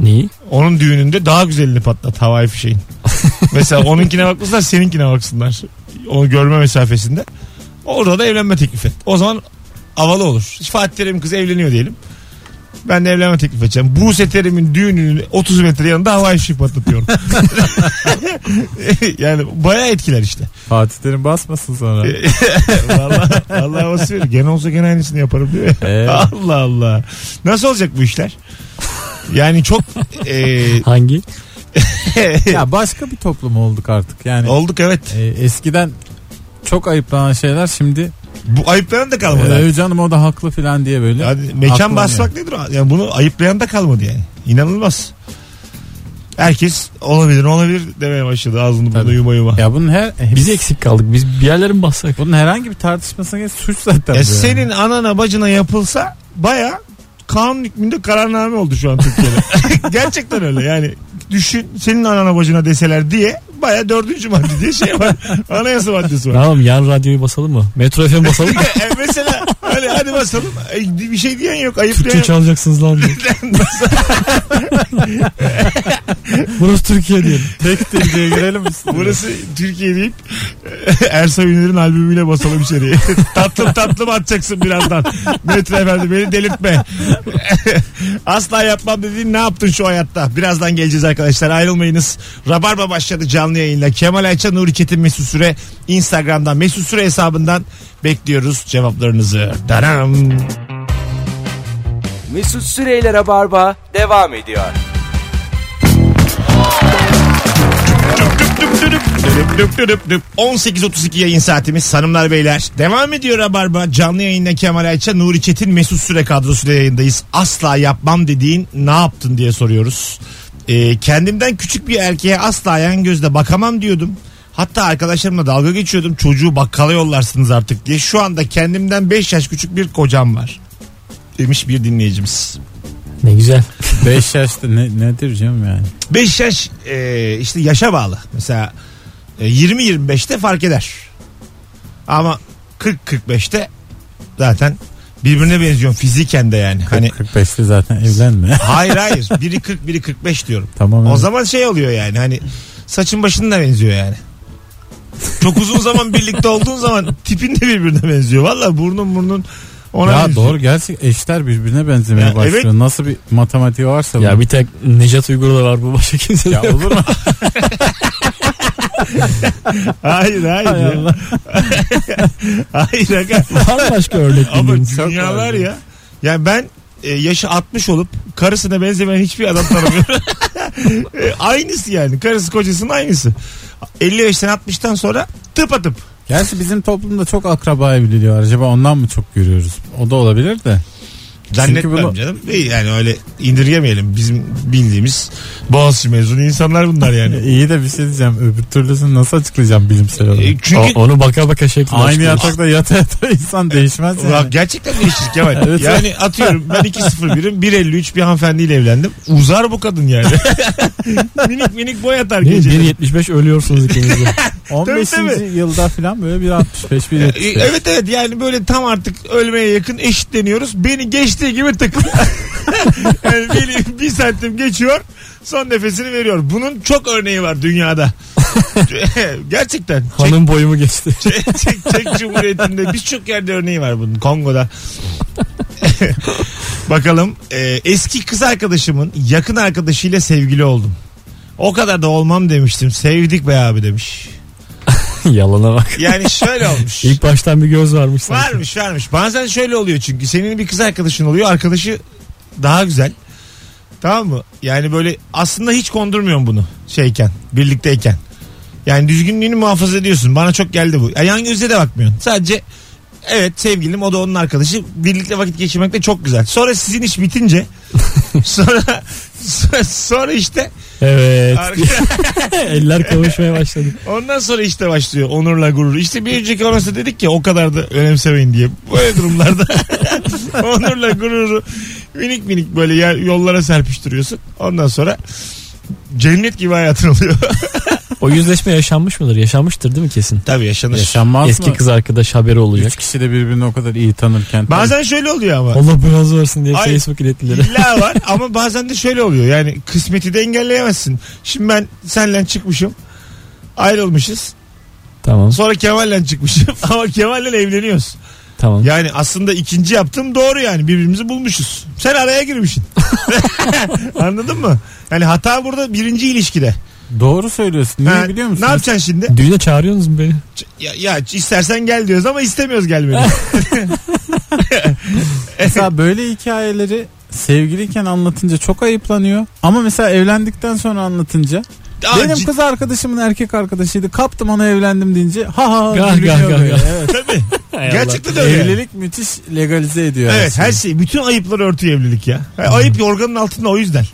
Speaker 4: Neyi?
Speaker 2: Onun düğününde daha güzelini patlat havai fişeğin. Mesela onunkine bakmışlar seninkine baksınlar. Onu görme mesafesinde. Orada da evlenme teklif et. O zaman havalı olur. Fatih Terim kız evleniyor diyelim. Ben de evlenme teklif edeceğim. Buse Terim'in düğününün 30 metre yanında havai fişek patlatıyorum. yani bayağı etkiler işte.
Speaker 3: Fatih Terim basmasın sonra.
Speaker 2: [laughs] Vallahi, vallahi havası verir. Gene olsa gene aynısını yaparım diyor ya.
Speaker 3: Ee,
Speaker 2: Allah Allah. Nasıl olacak bu işler? Yani çok e, eee,
Speaker 4: Hangi?
Speaker 3: ya başka bir toplum olduk artık. Yani
Speaker 2: [laughs] olduk evet.
Speaker 3: e, eskiden çok ayıplanan şeyler şimdi
Speaker 2: Bu ayıplayan da kalmadı. artık.
Speaker 3: e, canım o da haklı filan diye böyle.
Speaker 2: Yani mekan
Speaker 3: Aklanıyor.
Speaker 2: basmak nedir? o? Yani bunu ayıplayan da kalmadı yani. İnanılmaz. Herkes olabilir olabilir demeye başladı ağzını bunu
Speaker 3: Tabii.
Speaker 2: yuma yuma.
Speaker 3: Ya bunun her e,
Speaker 4: Biz
Speaker 3: biz-
Speaker 4: eksik kaldık. Biz bir yerlere mi bassak?
Speaker 3: bunun herhangi bir tartışmasına geç suç zaten.
Speaker 2: Ya
Speaker 3: bu yani.
Speaker 2: E senin anana bacına yapılsa baya kanun hükmünde kararname oldu şu an
Speaker 3: [laughs]
Speaker 2: Türkiye'de. [laughs] Gerçekten öyle yani. Düşün senin anana bacına deseler diye baya dördüncü madde diye şey
Speaker 3: [laughs]
Speaker 2: var. Anayasa maddesi
Speaker 4: Ne
Speaker 2: var.
Speaker 4: yapalım yan radyoyu basalım mı? Metro FM
Speaker 3: [laughs]
Speaker 4: basalım mı?
Speaker 2: E, mesela hani hadi basalım E, bir şey diyen yok ayıplayan
Speaker 4: Türkçe
Speaker 2: yok.
Speaker 4: çalacaksınız lan
Speaker 3: [laughs]
Speaker 4: diye. Burası Türkiye diyelim.
Speaker 3: tek tek diye girelim üstüne.
Speaker 2: Burası Türkiye deyip [laughs] Ersoy Ünlü'nün albümüyle basalım içeriye. [laughs] tatlım tatlım atacaksın birazdan. Metre efendi beni delirtme. [laughs] Asla yapmam dediğin ne yaptın şu hayatta? Birazdan geleceğiz arkadaşlar ayrılmayınız. Rabarba başladı canlı yayınla. Kemal Ayça, Nuri Çetin, Mesut Süre. Instagram'dan Mesut Süre hesabından bekliyoruz cevaplarınızı. Daram.
Speaker 1: Mesut Süreyler'e barba devam ediyor.
Speaker 2: Düp düdüp, düdüp düp düdüp düp. 18.32 yayın saatimiz hanımlar beyler. Devam ediyor Rabarba. Canlı yayında Kemal Ayça, Nuri Çetin, Mesut Süre kadrosuyla yayındayız. Asla yapmam dediğin ne yaptın diye soruyoruz. Ee, kendimden küçük bir erkeğe asla yan gözle bakamam diyordum. Hatta arkadaşlarımla dalga geçiyordum. Çocuğu bakkala yollarsınız artık diye. Şu anda kendimden 5 yaş küçük bir kocam var. Demiş bir dinleyicimiz.
Speaker 4: Ne güzel.
Speaker 3: 5 yaşta ne, nedir canım yani?
Speaker 2: 5 yaş e, işte yaşa bağlı. Mesela e, 20-25'te fark eder. Ama 40-45'te zaten birbirine benziyor fiziken de yani. Hani
Speaker 3: 45'li zaten evlenme. [laughs]
Speaker 2: hayır hayır biri 40 biri 45 diyorum.
Speaker 3: tamam.
Speaker 2: O
Speaker 3: evet.
Speaker 2: zaman şey oluyor yani hani saçın başın da benziyor yani. Çok uzun zaman birlikte olduğun zaman tipin de birbirine benziyor. Valla burnun burnun ona
Speaker 3: ya
Speaker 2: benziyor.
Speaker 3: doğru gerçek eşler birbirine benzemeye
Speaker 2: Ya,
Speaker 3: başlıyor.
Speaker 2: evet.
Speaker 3: Nasıl bir matematiği varsa bunun.
Speaker 4: Ya bir tek Necat Uygur'da var bu başka kimse de
Speaker 3: ya
Speaker 4: yok.
Speaker 3: olur mu?
Speaker 2: [laughs] Hayır hayır.
Speaker 3: Hay
Speaker 2: ya.
Speaker 3: Allah.
Speaker 2: [laughs] hayır aga.
Speaker 4: Var mı başka örnek
Speaker 2: Ama
Speaker 4: bildiğiniz?
Speaker 2: dünya
Speaker 3: çok
Speaker 2: var
Speaker 3: var
Speaker 2: ya. Yani ben e, yaşı 60 olup karısına benzemeyen hiçbir adam tanımıyorum. [laughs] E, aynısı yani. Karısı kocasının aynısı. 55'ten 60'tan sonra tıp atıp.
Speaker 3: Gerçi bizim toplumda çok akraba evliliği var. Acaba ondan mı çok görüyoruz? O da olabilir de.
Speaker 2: Zannetmem
Speaker 3: Çünkü bunu-
Speaker 2: canım. Değil Yani öyle indirgemeyelim. Bizim bildiğimiz Boğaziçi mezunu insanlar bunlar
Speaker 3: [laughs]
Speaker 2: yani.
Speaker 3: İyi de bir şey diyeceğim. Öbür türlüsünü nasıl açıklayacağım bilimsel olarak?
Speaker 2: E, çünkü
Speaker 4: O- onu baka şey baka şeklinde
Speaker 3: Aynı
Speaker 4: açıklıyor.
Speaker 3: yatakta yata yata [laughs] insan değişmez
Speaker 2: E, Ulan
Speaker 3: yani.
Speaker 2: gerçekten değişir Kemal.
Speaker 3: Evet.
Speaker 2: Yani atıyorum ben 2.01'im 1.53 bir hanımefendiyle evlendim. Uzar bu kadın yani. [laughs] minik minik boy atar
Speaker 4: Değil mi?
Speaker 2: geceleri.
Speaker 4: 1.75 ölüyorsunuz ikiniz de.
Speaker 3: 15.
Speaker 2: Tabii, tabii.
Speaker 3: yılda falan böyle bir 65 bir
Speaker 2: E, Evet evet yani böyle tam artık ölmeye yakın eşitleniyoruz. Beni geçtiği gibi tık. [laughs] yani beni bir santim geçiyor son nefesini veriyor. Bunun çok örneği var dünyada. Gerçekten. Çek,
Speaker 4: Hanım boyumu geçti.
Speaker 2: [laughs] çek, çek Cumhuriyeti'nde birçok yerde örneği var bunun. Kongo'da. [laughs] Bakalım e, eski kız arkadaşımın yakın arkadaşıyla sevgili oldum. O kadar da olmam demiştim. Sevdik be abi demiş.
Speaker 4: [laughs] Yalana bak.
Speaker 2: Yani şöyle
Speaker 4: [laughs]
Speaker 2: olmuş.
Speaker 4: İlk baştan bir göz varmış sanki.
Speaker 2: Varmış varmış. Bazen şöyle oluyor çünkü senin bir kız arkadaşın oluyor. Arkadaşı daha güzel. Tamam mı? Yani böyle aslında hiç kondurmuyorsun bunu şeyken, birlikteyken. Yani düzgünlüğünü muhafaza ediyorsun. Bana çok geldi bu. Ya Yan gözle de bakmıyorsun. Sadece evet sevgilim o da onun arkadaşı. Birlikte vakit geçirmek de çok güzel. Sonra sizin iş bitince [laughs] sonra sonra işte
Speaker 4: Evet.
Speaker 2: arka-
Speaker 4: [laughs] Eller kavuşmaya başladı.
Speaker 2: Ondan sonra işte başlıyor onurla gurur. İşte bir önceki anonsta dedik ya o kadar da önemsemeyin diye. [laughs] Böyle durumlarda onurla gururu minik minik böyle yer, yollara serpiştiriyorsun. Ondan sonra cennet gibi hayatın oluyor.
Speaker 4: O yüzleşme yaşanmış mıdır? Yaşanmıştır değil mi kesin?
Speaker 2: [laughs] Tabii yaşanır.
Speaker 3: Yaşanmaz
Speaker 4: Eski
Speaker 3: mı?
Speaker 4: kız arkadaş haberi olacak.
Speaker 3: Üç kişi de birbirini o kadar iyi tanırken.
Speaker 2: Bazen şöyle oluyor ama.
Speaker 4: Allah biraz versin diye
Speaker 2: Ay.
Speaker 4: Facebook
Speaker 2: [laughs]
Speaker 4: ilettileri.
Speaker 2: İlla var ama bazen de şöyle oluyor. Yani kısmeti de engelleyemezsin. Şimdi ben senle çıkmışım. Ayrılmışız.
Speaker 4: tamam
Speaker 2: Sonra Kemal'le çıkmışım. [laughs] Ama Kemal'le evleniyoruz.
Speaker 4: tamam.
Speaker 2: Yani aslında ikinci yaptım doğru yani birbirimizi bulmuşuz. Sen araya
Speaker 3: [laughs]
Speaker 2: girmişsin. Anladın mı? Yani hata burada birinci ilişkide.
Speaker 3: Doğru söylüyorsun. Niye
Speaker 2: Ha,
Speaker 3: biliyor
Speaker 2: Ne
Speaker 3: musun?
Speaker 2: yapacaksın şimdi?
Speaker 4: Düğüne çağırıyorsunuz mu beni?
Speaker 2: Ç- Ya, ya istersen gel diyoruz ama istemiyoruz gelmeni. [laughs]
Speaker 3: Mesela böyle hikayeleri sevgiliyken anlatınca çok ayıplanıyor. Ama mesela evlendikten sonra anlatınca
Speaker 2: Aa,
Speaker 3: benim
Speaker 2: cid-
Speaker 3: kız arkadaşımın erkek arkadaşıydı. Kaptım ona evlendim deyince ha ha ha
Speaker 4: Gah,
Speaker 3: gülüyor
Speaker 4: gah, gah,
Speaker 3: böyle.
Speaker 4: gah.
Speaker 3: Evet.
Speaker 2: Tabii. Gerçekten de öyle.
Speaker 3: Evlilik müthiş legalize ediyor.
Speaker 2: Evet
Speaker 3: aslında.
Speaker 2: her şey. Bütün ayıpları örtüyor evlilik ya. Ha, Ayıp yorganın altında o yüzden.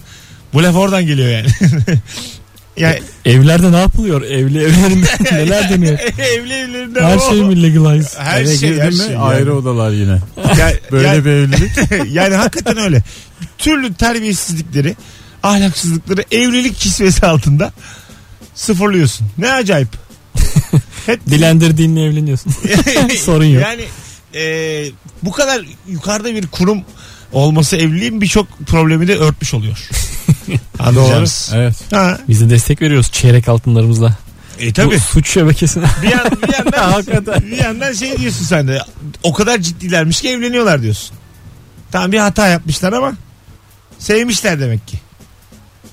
Speaker 2: Bu laf oradan geliyor yani. [laughs]
Speaker 3: [laughs]
Speaker 2: yani
Speaker 4: Evlerde ne yapılıyor? Evli
Speaker 2: [laughs]
Speaker 4: evlerinde [laughs] neler dönüyor?
Speaker 2: evli evlerinden
Speaker 4: Her
Speaker 2: o-
Speaker 4: şey mi legalize?
Speaker 2: Her
Speaker 3: Eve
Speaker 2: şey,
Speaker 3: girdin
Speaker 2: her
Speaker 3: mi
Speaker 2: şey yani.
Speaker 3: ayrı odalar yine.
Speaker 2: Ya-
Speaker 3: Böyle
Speaker 2: ya-
Speaker 3: bir evlilik.
Speaker 2: [laughs] yani hakikaten öyle. Türlü terbiyesizlikleri, ahlaksızlıkları evlilik kisvesi altında sıfırlıyorsun. Ne acayip. Hep
Speaker 4: Dilendirdiğinle
Speaker 2: [laughs]
Speaker 4: evleniyorsun. [laughs] sorun yok.
Speaker 2: Yani e, bu kadar yukarıda bir kurum olması evliliğin birçok problemi de örtmüş oluyor. Anlayacağınız.
Speaker 3: Evet.
Speaker 2: Ha,
Speaker 4: Biz de destek veriyoruz çeyrek altınlarımızla.
Speaker 2: e
Speaker 4: Bu
Speaker 2: tabii.
Speaker 4: suç şebekesine. [laughs]
Speaker 2: Bir, yan, bir, yandan, bir yandan şey diyorsun sen de o kadar ciddilermiş ki evleniyorlar diyorsun. Tamam bir hata yapmışlar ama sevmişler demek ki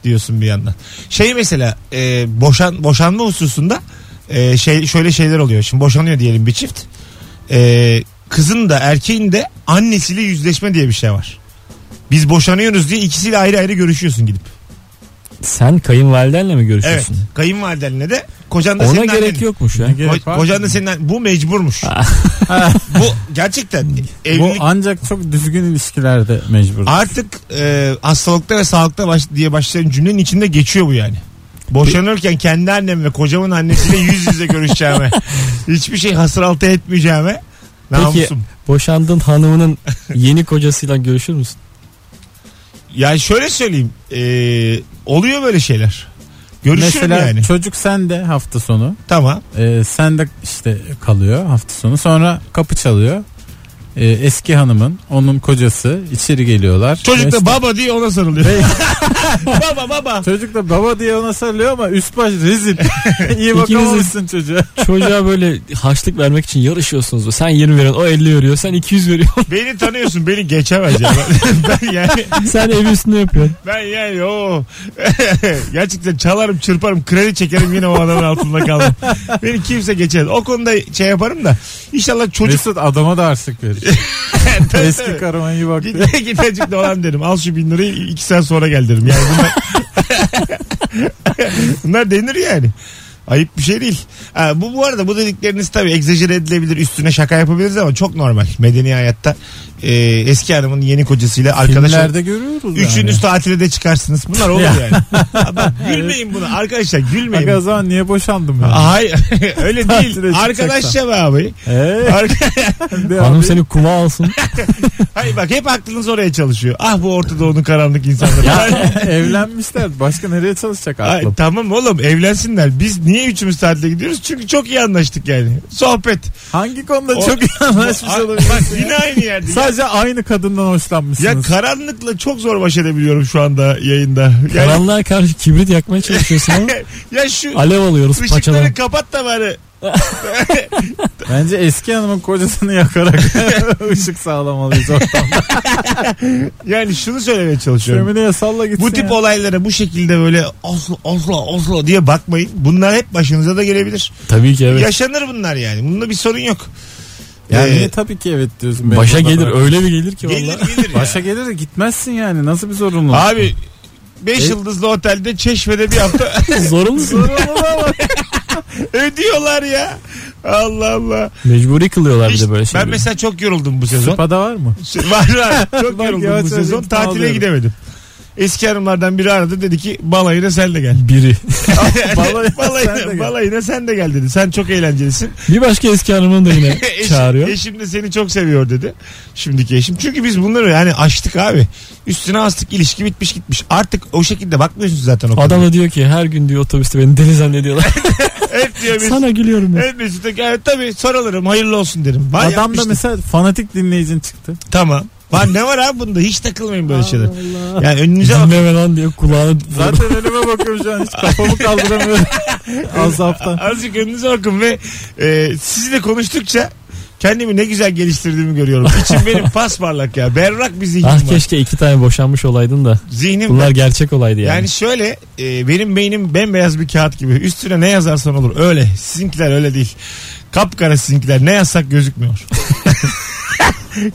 Speaker 2: diyorsun bir yandan. Şey mesela e, boşan boşanma hususunda e, şey şöyle şeyler oluyor. Şimdi boşanıyor diyelim bir çift. E, kızın da erkeğin de annesiyle yüzleşme diye bir şey var. Biz boşanıyoruz diye ikisiyle ayrı ayrı görüşüyorsun gidip.
Speaker 4: Sen kayınvalidenle mi
Speaker 2: Evet.
Speaker 4: görüşüyorsun?
Speaker 2: Kayınvalidenle de kocan da
Speaker 4: Ona
Speaker 2: senin
Speaker 4: gerek
Speaker 2: annen.
Speaker 4: yokmuş ya.
Speaker 3: Ne gerek
Speaker 2: Ko-
Speaker 3: var?
Speaker 2: kocan da senin bu mecburmuş. bu gerçekten
Speaker 3: Bu
Speaker 2: evlilik
Speaker 3: ancak çok düzgün ilişkilerde mecbur.
Speaker 2: artık e, hastalıkta ve sağlıkta baş, diye başlayan cümlenin içinde geçiyor bu yani. Boşanırken kendi annem ve kocamın annesiyle yüz
Speaker 3: [laughs]
Speaker 2: yüze görüşeceğime, hiçbir şey hasır altı etmeyeceğime namusum.
Speaker 4: Boşandığın hanımının yeni kocasıyla görüşür müsün?
Speaker 2: Yani şöyle söyleyeyim, e, oluyor böyle şeyler. Görüşürüm
Speaker 3: Mesela
Speaker 2: yani.
Speaker 3: çocuk sende hafta sonu.
Speaker 2: Tamam.
Speaker 3: Ee, sende işte kalıyor hafta sonu. Sonra kapı çalıyor. Ee, eski hanımın onun kocası içeri geliyorlar.
Speaker 2: Çocuk
Speaker 3: Ve
Speaker 2: da
Speaker 3: işte-
Speaker 2: baba diye ona sarılıyor. [laughs] baba baba.
Speaker 3: Çocuk da baba diye ona sarılıyor ama üst baş
Speaker 2: [laughs]
Speaker 3: rezil. İyi bakamamışsın çocuğa.
Speaker 4: Çocuğa böyle harçlık vermek için yarışıyorsunuz. Sen 20 veriyorsun, o 50 veriyor, sen 200 veriyorsun.
Speaker 2: Beni tanıyorsun beni geçemez
Speaker 3: [laughs]
Speaker 2: ya. ben yani
Speaker 4: sen ev üstünde yapıyorsun.
Speaker 2: Ben yani o [laughs] gerçekten çalarım çırparım kredi çekerim yine o adamın altında kaldım. Beni kimse geçer. O konuda şey yaparım da inşallah çocuk
Speaker 3: Mesut adama da harçlık verir. Eski
Speaker 2: [laughs]
Speaker 3: karıma iyi bak. diye.
Speaker 2: gide gidecek dolan derim. Al şu bin lirayı [laughs] iki saat sonra gel derim. Yani bunlar, bunlar denir yani. Ayıp bir şey değil. Ha, bu bu arada bu dedikleriniz tabii egzajere edilebilir. Üstüne şaka yapabiliriz ama çok normal. Medeni hayatta e, eski hanımın yeni kocasıyla arkadaş ol-
Speaker 3: Filmlerde görüyoruz
Speaker 2: Üçünüz
Speaker 3: yani.
Speaker 2: tatile de çıkarsınız. Bunlar olur
Speaker 3: Ya. [laughs]
Speaker 2: yani. Ha, Bak, gülmeyin buna arkadaşlar gülmeyin.
Speaker 3: Aga o zaman niye boşandım ya?
Speaker 2: Hayır [laughs] öyle
Speaker 3: Tatile
Speaker 2: değil.
Speaker 3: çıkacaksan.
Speaker 2: Arkadaşça be abi.
Speaker 3: Ee,
Speaker 2: Arka- [laughs]
Speaker 3: de
Speaker 4: Hanım
Speaker 3: abi.
Speaker 4: seni kuma alsın.
Speaker 2: Hayır bak hep aklınız oraya çalışıyor. Ah bu Orta Doğu'nun karanlık insanları. [laughs]
Speaker 3: [laughs] Evlenmişler. Başka nereye çalışacak
Speaker 2: Ay,
Speaker 3: aklım?
Speaker 2: tamam oğlum evlensinler. Biz niye üçümüz tatile gidiyoruz? Çünkü çok iyi anlaştık yani.
Speaker 3: [laughs]
Speaker 2: Sohbet.
Speaker 3: Hangi konuda
Speaker 2: O-
Speaker 3: çok [laughs] iyi anlaşmış
Speaker 2: Ay,
Speaker 3: şey olabilir?
Speaker 2: Bak yine aynı yerde.
Speaker 3: Sadece aynı kadından
Speaker 2: Ya
Speaker 3: hoşlanmışsınız.
Speaker 2: karanlıkla çok zor baş edebiliyorum şu anda yayında. Yani,
Speaker 4: Karanlığa karşı kibrit yakmaya
Speaker 2: [laughs]
Speaker 4: çalışıyorsun ama
Speaker 2: ya şu
Speaker 4: alev alıyoruz paçadan.
Speaker 2: ışıkları kapat da bari.
Speaker 3: Bence eski hanımın
Speaker 2: [laughs]
Speaker 3: kocasını yakarak [laughs] ışık sağlamalıyız ortamda.
Speaker 2: Yani şunu söylemeye çalışıyorum.
Speaker 3: Şömineye salla gitsin.
Speaker 2: Bu tip
Speaker 3: ya.
Speaker 2: olaylara bu şekilde böyle Oslo Oslo Oslo diye bakmayın. Bunlar hep başınıza da gelebilir.
Speaker 4: Tabii ki evet.
Speaker 2: Yaşanır bunlar yani. Bunda bir sorun yok.
Speaker 3: Yani
Speaker 2: Ee,
Speaker 3: niye tabii ki evet diyorsun. Ben
Speaker 4: Başa
Speaker 3: burada
Speaker 4: gelir
Speaker 3: bırak-
Speaker 4: öyle bir gelir ki
Speaker 2: gelir
Speaker 4: valla.
Speaker 2: gelir ya.
Speaker 3: Başa gelir de gitmezsin yani. Nasıl bir zorunluluk?
Speaker 2: Abi 5
Speaker 3: E-
Speaker 2: yıldızlı otelde çeşmede bir hafta [laughs]
Speaker 4: Zorunlusun.
Speaker 2: ödüyorlar ya. Allah Allah.
Speaker 4: Mecburi kılıyorlar bir
Speaker 2: İşte
Speaker 4: de böyle
Speaker 2: ben
Speaker 4: şeyleri.
Speaker 2: mesela çok yoruldum bu sezon.
Speaker 3: Spada var mı?
Speaker 2: [laughs] var var.
Speaker 3: [laughs]
Speaker 2: Çok
Speaker 3: Bak,
Speaker 2: yoruldum
Speaker 3: yavaş
Speaker 2: bu
Speaker 3: yavaş
Speaker 2: sezon.
Speaker 3: ikna
Speaker 2: Tatile
Speaker 3: oluyorum.
Speaker 2: gidemedim. Eski hanımlardan biri aradı dedi ki balayına sen de gel.
Speaker 4: Biri.
Speaker 2: balayına,
Speaker 3: [laughs]
Speaker 2: [laughs]
Speaker 3: Balayına
Speaker 2: balayına,
Speaker 3: sen de
Speaker 2: sen
Speaker 3: gel.
Speaker 2: de gel dedi. Sen çok eğlencelisin.
Speaker 4: Bir başka eski hanımın
Speaker 2: [laughs]
Speaker 4: da yine
Speaker 2: Eşim-
Speaker 4: çağırıyor.
Speaker 2: Eşim de seni çok seviyor dedi. Şimdiki eşim. Çünkü biz bunları yani açtık abi. Üstüne astık ilişki bitmiş gitmiş. Artık o şekilde bakmıyorsunuz zaten o
Speaker 4: Adam da diyor ki her gün diyor otobüste beni deli zannediyorlar.
Speaker 2: konuya. Hep diyor biz.
Speaker 4: [laughs] Sana gülüyorum ben.
Speaker 2: Hep Mesut'a evet, tabii sorarım hayırlı olsun derim. Var
Speaker 3: Adam da
Speaker 2: yapmıştım.
Speaker 3: mesela fanatik dinleyicin çıktı.
Speaker 2: Tamam. Var ne var abi bunda hiç takılmayın böyle şeyler. Yani önünüze bak.
Speaker 4: Dinleme lan diyor kulağını.
Speaker 3: Zaten önüme bakıyorum şu an hiç
Speaker 2: [laughs]
Speaker 3: kafamı kaldıramıyorum. Azaptan.
Speaker 2: Azıcık önünüze bakın ve e, sizinle konuştukça kendimi ne güzel geliştirdiğimi görüyorum. İçim
Speaker 4: [laughs]
Speaker 2: benim pasparlak ya. Berrak bir zihnim
Speaker 4: ah
Speaker 2: var.
Speaker 4: keşke iki tane boşanmış olaydın da.
Speaker 2: Zihnim
Speaker 4: Bunlar gerçek olaydı yani.
Speaker 2: Yani şöyle e, benim beynim bembeyaz bir kağıt gibi. Üstüne ne yazarsan olur. Öyle. Sizinkiler öyle değil. Kapkara sizinkiler. Ne yazsak gözükmüyor. [laughs]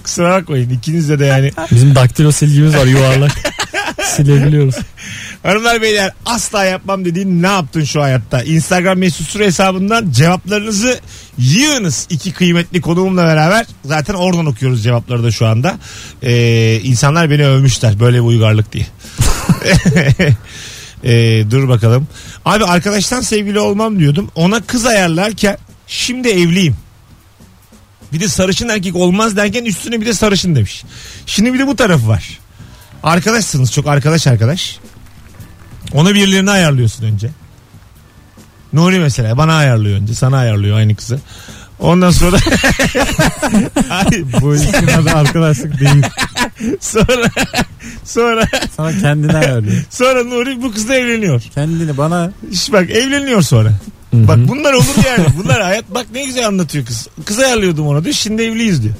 Speaker 2: Kusura bakmayın. İkinizde de yani.
Speaker 4: Bizim daktilo silgimiz
Speaker 3: [laughs]
Speaker 4: var yuvarlak. Silebiliyoruz.
Speaker 2: Hanımlar beyler asla yapmam dediğin ne yaptın şu hayatta? Instagram mesut süre hesabından cevaplarınızı yığınız. iki kıymetli konuğumla beraber zaten oradan okuyoruz cevapları da şu anda. Ee, insanlar beni övmüşler böyle bir uygarlık diye. [laughs] Ee, dur bakalım. Abi arkadaştan sevgili olmam diyordum. Ona kız ayarlarken şimdi evliyim. Bir de sarışın erkek olmaz derken üstüne bir de sarışın demiş. Şimdi bir de bu tarafı var. Arkadaşsınız çok arkadaş arkadaş. Onu birilerine ayarlıyorsun önce. Nuri mesela bana ayarlıyor önce. Sana ayarlıyor aynı kızı. Ondan sonra
Speaker 3: [laughs]
Speaker 2: Hayır,
Speaker 3: Bu ilişkin adı arkadaşlık değil.
Speaker 2: [laughs] sonra sonra
Speaker 3: Sana kendine ayarlıyor.
Speaker 2: sonra Nuri bu kızla evleniyor.
Speaker 3: Kendini bana
Speaker 2: İşte bak evleniyor sonra.
Speaker 4: Hı
Speaker 2: Bak
Speaker 4: hı.
Speaker 2: bunlar olur yani. Bunlar hayat bak ne güzel anlatıyor kız. Kız ayarlıyordum ona diyor. Şimdi evliyiz
Speaker 3: [laughs]
Speaker 2: diyor.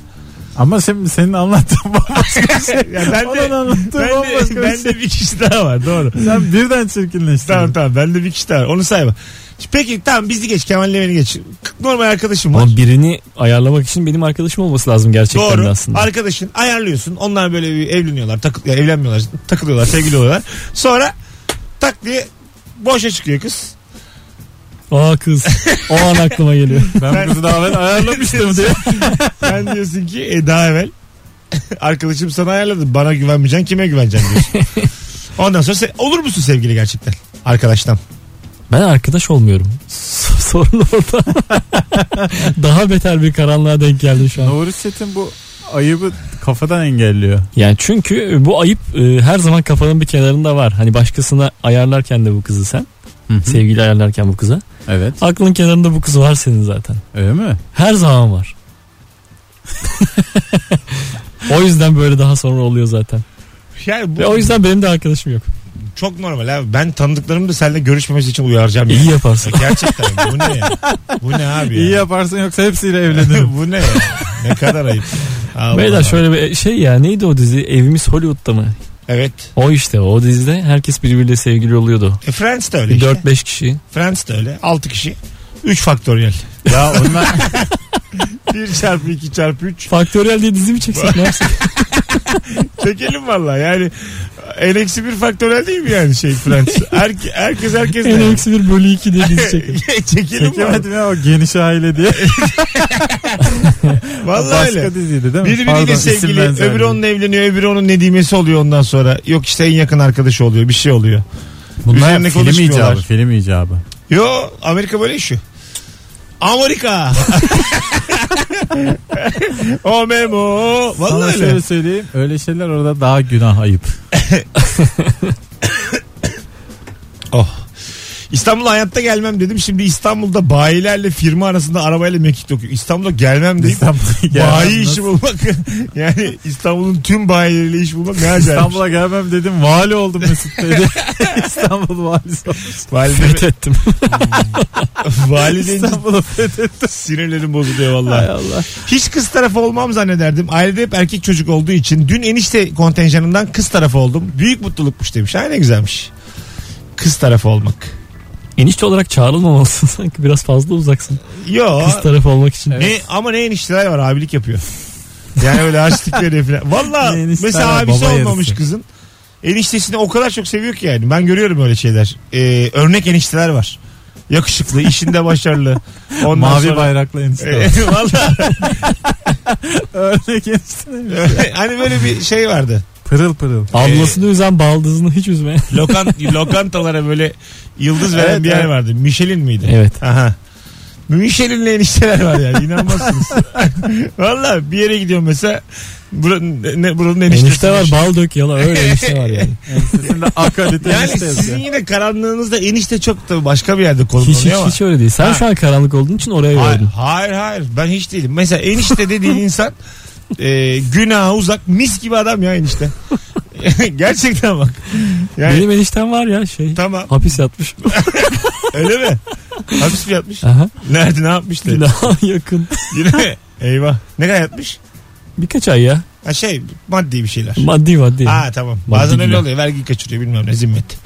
Speaker 3: ama şimdi senin anlattığın bambaşka bir şey.
Speaker 2: Ya ben
Speaker 3: Onun
Speaker 2: de
Speaker 3: anlattığı
Speaker 2: ben
Speaker 3: bambaşka
Speaker 2: de,
Speaker 3: bir
Speaker 2: ben
Speaker 3: şey.
Speaker 2: de bir kişi daha var doğru.
Speaker 3: Sen birden çirkinleştin.
Speaker 2: Tamam tamam ben de bir kişi daha var. Onu sayma. Peki tamam bizi geç Kemal'le beni geç. Normal arkadaşım var.
Speaker 4: Ama birini ayarlamak için benim arkadaşım olması lazım gerçekten de
Speaker 2: Doğru.
Speaker 4: aslında.
Speaker 2: Arkadaşın ayarlıyorsun. Onlar böyle bir evleniyorlar. Takıl ya evlenmiyorlar. Takılıyorlar. Sevgili oluyorlar. Sonra tak diye boşa çıkıyor kız.
Speaker 4: Aa kız. O an aklıma geliyor.
Speaker 3: Ben kızı daha evvel ayarlamıştım diye.
Speaker 2: Sen
Speaker 4: [laughs]
Speaker 2: diyorsun ki e, daha evvel arkadaşım sana ayarladı. Bana güvenmeyeceksin. Kime güveneceksin diyorsun.
Speaker 4: [laughs]
Speaker 2: Ondan sonra se- olur musun sevgili gerçekten? Arkadaştan.
Speaker 4: Ben arkadaş olmuyorum. S- Sorun orada. Daha beter bir karanlığa denk geldi şu an.
Speaker 3: Nuri Çetin bu ayıbı kafadan engelliyor.
Speaker 4: Yani çünkü bu ayıp e, her zaman kafanın bir kenarında var. Hani başkasına ayarlarken de bu kızı sen. Sevgili ayarlarken bu kıza.
Speaker 3: Evet.
Speaker 4: Aklın kenarında bu kız var senin zaten.
Speaker 3: Öyle mi?
Speaker 4: Her zaman var. [laughs] o yüzden böyle daha sonra oluyor zaten.
Speaker 2: Yani bu
Speaker 4: Ve o yüzden benim de arkadaşım yok.
Speaker 2: çok normal abi. Ben tanıdıklarımı da seninle görüşmemesi için uyaracağım.
Speaker 4: İyi
Speaker 2: yani.
Speaker 4: yaparsın.
Speaker 2: Gerçekten bu ne ya? Bu ne abi ya?
Speaker 3: İyi yaparsın yoksa hepsiyle evlenirim.
Speaker 2: [laughs] bu ne ya? Ne kadar ayıp. Allah
Speaker 4: Beyler
Speaker 2: Allah.
Speaker 4: şöyle bir şey ya neydi o dizi? Evimiz Hollywood'da mı?
Speaker 2: Evet.
Speaker 4: O işte o dizide herkes birbiriyle sevgili oluyordu.
Speaker 2: E, Friends de öyle.
Speaker 4: Bir
Speaker 2: işte.
Speaker 4: 4-5 kişi.
Speaker 2: Friends de öyle. 6 kişi. 3 faktöriyel. [laughs]
Speaker 3: ya onlar
Speaker 2: 1 çarpı 2 çarpı 3.
Speaker 4: Faktöriyel diye dizi mi çeksek ne yapsak?
Speaker 2: Çekelim valla yani. En eksi bir faktörel değil mi yani şey Fransız? Herke- herkes
Speaker 3: [laughs]
Speaker 2: herkes
Speaker 4: En eksi bir bölü 2 diye
Speaker 2: [laughs]
Speaker 4: dizi çekin.
Speaker 2: Çekelim mi?
Speaker 3: Çekemedim ya o geniş aile diye.
Speaker 2: Vallahi
Speaker 3: Başka
Speaker 2: öyle.
Speaker 3: diziydi değil mi? Pardon,
Speaker 2: Birbiriyle
Speaker 3: isim
Speaker 2: sevgili
Speaker 3: benzerliği.
Speaker 2: öbürü onunla evleniyor öbürü onun nedimesi oluyor ondan sonra. Yok işte en yakın arkadaşı oluyor bir şey oluyor.
Speaker 3: Bunlar
Speaker 2: üzerine
Speaker 3: film
Speaker 2: konuşmuyorlar.
Speaker 3: icabı, film icabı.
Speaker 2: Yo Amerika böyle işi.
Speaker 3: [laughs]
Speaker 2: Amerika. [laughs] o memo.
Speaker 3: Sana
Speaker 2: Vallahi öyle.
Speaker 3: şöyle söyleyeyim. Öyle şeyler orada daha günah ayıp.
Speaker 2: Oh. İstanbul'a hayatta gelmem dedim. Şimdi İstanbul'da bayilerle firma arasında arabayla mekik dokuyor. İstanbul'a gelmem deyip
Speaker 3: İstanbul'a [laughs] gelmem
Speaker 2: bayi
Speaker 3: nasıl-
Speaker 2: işi bulmak. [laughs] yani İstanbul'un tüm bayileriyle iş bulmak ne acayip.
Speaker 3: İstanbul'a gelmem dedim. Vali oldum Mesut Bey. diye. İstanbul valisi oldum.
Speaker 2: [laughs] Valide,
Speaker 3: [laughs]
Speaker 4: Fethettim.
Speaker 2: valide
Speaker 3: İstanbul'u
Speaker 2: [laughs]
Speaker 3: fethettim.
Speaker 2: sinirlerim bozuluyor
Speaker 3: Hay
Speaker 2: vallahi.
Speaker 3: Allah.
Speaker 2: Hiç kız tarafı olmam zannederdim. Ailede hep erkek çocuk olduğu için dün enişte kontenjanından kız tarafı oldum. Büyük mutlulukmuş demiş. Ay ne güzelmiş. Kız tarafı olmak.
Speaker 4: Enişte olarak çağrılmamalısın sanki biraz fazla uzaksın.
Speaker 2: Yo.
Speaker 4: Kız tarafı olmak için.
Speaker 2: Ne, ama ne enişteler var abilik yapıyor. Yani öyle harçlık veriyor falan. Valla
Speaker 3: Ne enişteler
Speaker 2: mesela
Speaker 3: var,
Speaker 2: abisi
Speaker 3: baba
Speaker 2: olmamış
Speaker 3: yarısı.
Speaker 2: kızın. Eniştesini o kadar çok seviyor ki yani. Ben görüyorum öyle şeyler. Ee, örnek enişteler var. Yakışıklı, işinde
Speaker 3: [laughs]
Speaker 2: başarılı. Ondan [laughs]
Speaker 3: Mavi
Speaker 2: sonra...
Speaker 3: bayraklı enişte var.
Speaker 2: Ee, [laughs]
Speaker 3: [laughs]
Speaker 2: Valla
Speaker 3: Örnek enişte değil mi?
Speaker 2: hani böyle bir şey vardı.
Speaker 3: Pırıl pırıl.
Speaker 4: Ablasını üzen baldızını hiç üzme.
Speaker 2: Lokant, lokantalara böyle yıldız veren
Speaker 3: Evet,
Speaker 2: bir yer
Speaker 3: evet.
Speaker 2: vardı. Michelin miydi?
Speaker 4: Evet.
Speaker 2: Aha. Michelin enişteler var yani
Speaker 3: [laughs]
Speaker 2: inanmazsınız. Valla bir yere gidiyorum mesela buranın, ne, buranın eniştesi. şey
Speaker 4: Enişte var bal dök yala öyle enişte var yani.
Speaker 3: Ensesinde akalite
Speaker 2: Yani
Speaker 3: enişte yazıyor.
Speaker 2: sizin yine karanlığınızda enişte çok da başka bir yerde
Speaker 4: Hiç, hiç,
Speaker 2: konumlanıyor ama.
Speaker 4: hiç öyle değil. Sen
Speaker 2: Ha.
Speaker 4: şu an karanlık olduğun için oraya
Speaker 2: hayır,
Speaker 4: yordun.
Speaker 2: hayır hayır ben hiç değilim. Mesela enişte
Speaker 4: [laughs]
Speaker 2: dediğin insan e, günaha uzak mis gibi adam ya enişte. [laughs] Gerçekten bak. Yani
Speaker 4: Benim eniştem var ya şey.
Speaker 2: tamam
Speaker 4: Hapis yatmış.
Speaker 2: öyle mi? Hapis mi yatmış?
Speaker 4: [laughs] Aha.
Speaker 2: Nerede ne yapmıştı?
Speaker 4: [laughs] Günaha yakın.
Speaker 2: Yine mi? Eyvah. Ne kadar yatmış?
Speaker 4: Birkaç ay ya.
Speaker 2: Ha şey maddi bir şeyler.
Speaker 4: Maddi maddi.
Speaker 2: Ha tamam.
Speaker 4: Maddi
Speaker 2: Bazen öyle
Speaker 4: günah.
Speaker 2: oluyor. Vergi kaçırıyor bilmem ne zimmet.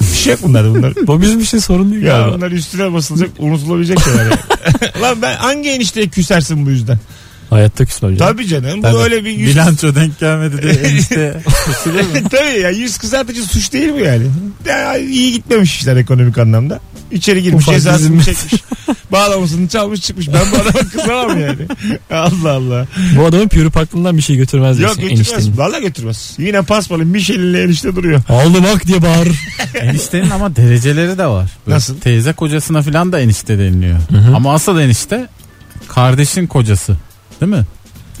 Speaker 2: Bir şey yok bunlarda bunlar.
Speaker 4: Bu bizim için sorun değil
Speaker 2: Ya
Speaker 4: galiba.
Speaker 2: bunlar üstüne basılacak unutulabilecek şeyler. yani. [laughs] Lan ben hangi enişteye küsersin bu yüzden?
Speaker 4: Hayatta küsmem. canım.
Speaker 2: Tabii canım. Bu
Speaker 3: Tabii.
Speaker 2: öyle bir yüz...
Speaker 3: Bilanço denk
Speaker 2: [laughs]
Speaker 3: gelmedi diye enişte küsülür mü?
Speaker 2: Tabii ya yüz kızartıcı suç değil mi yani? Ya, iyi gitmemiş işler ekonomik anlamda. İçeri girmiş
Speaker 4: Ufak
Speaker 2: cezasını [laughs]
Speaker 4: bizim-
Speaker 2: çekmiş. Bağlamasını çalmış çıkmış. Ben bu adama kızamam [laughs] yani. Allah Allah.
Speaker 4: Bu adamın pürüp aklından bir şey götürmez
Speaker 2: Yok
Speaker 4: diyorsun
Speaker 2: götürmez.
Speaker 4: eniştenin.
Speaker 2: Valla götürmez. Yine paspalın Michelin'le enişte duruyor.
Speaker 4: Aldım hak diye bağırır.
Speaker 3: Eniştenin ama dereceleri de var.
Speaker 2: Nasıl?
Speaker 3: Teyze kocasına filan da enişte deniliyor.
Speaker 4: hı.
Speaker 3: Ama asıl enişte kardeşin kocası. Değil mi?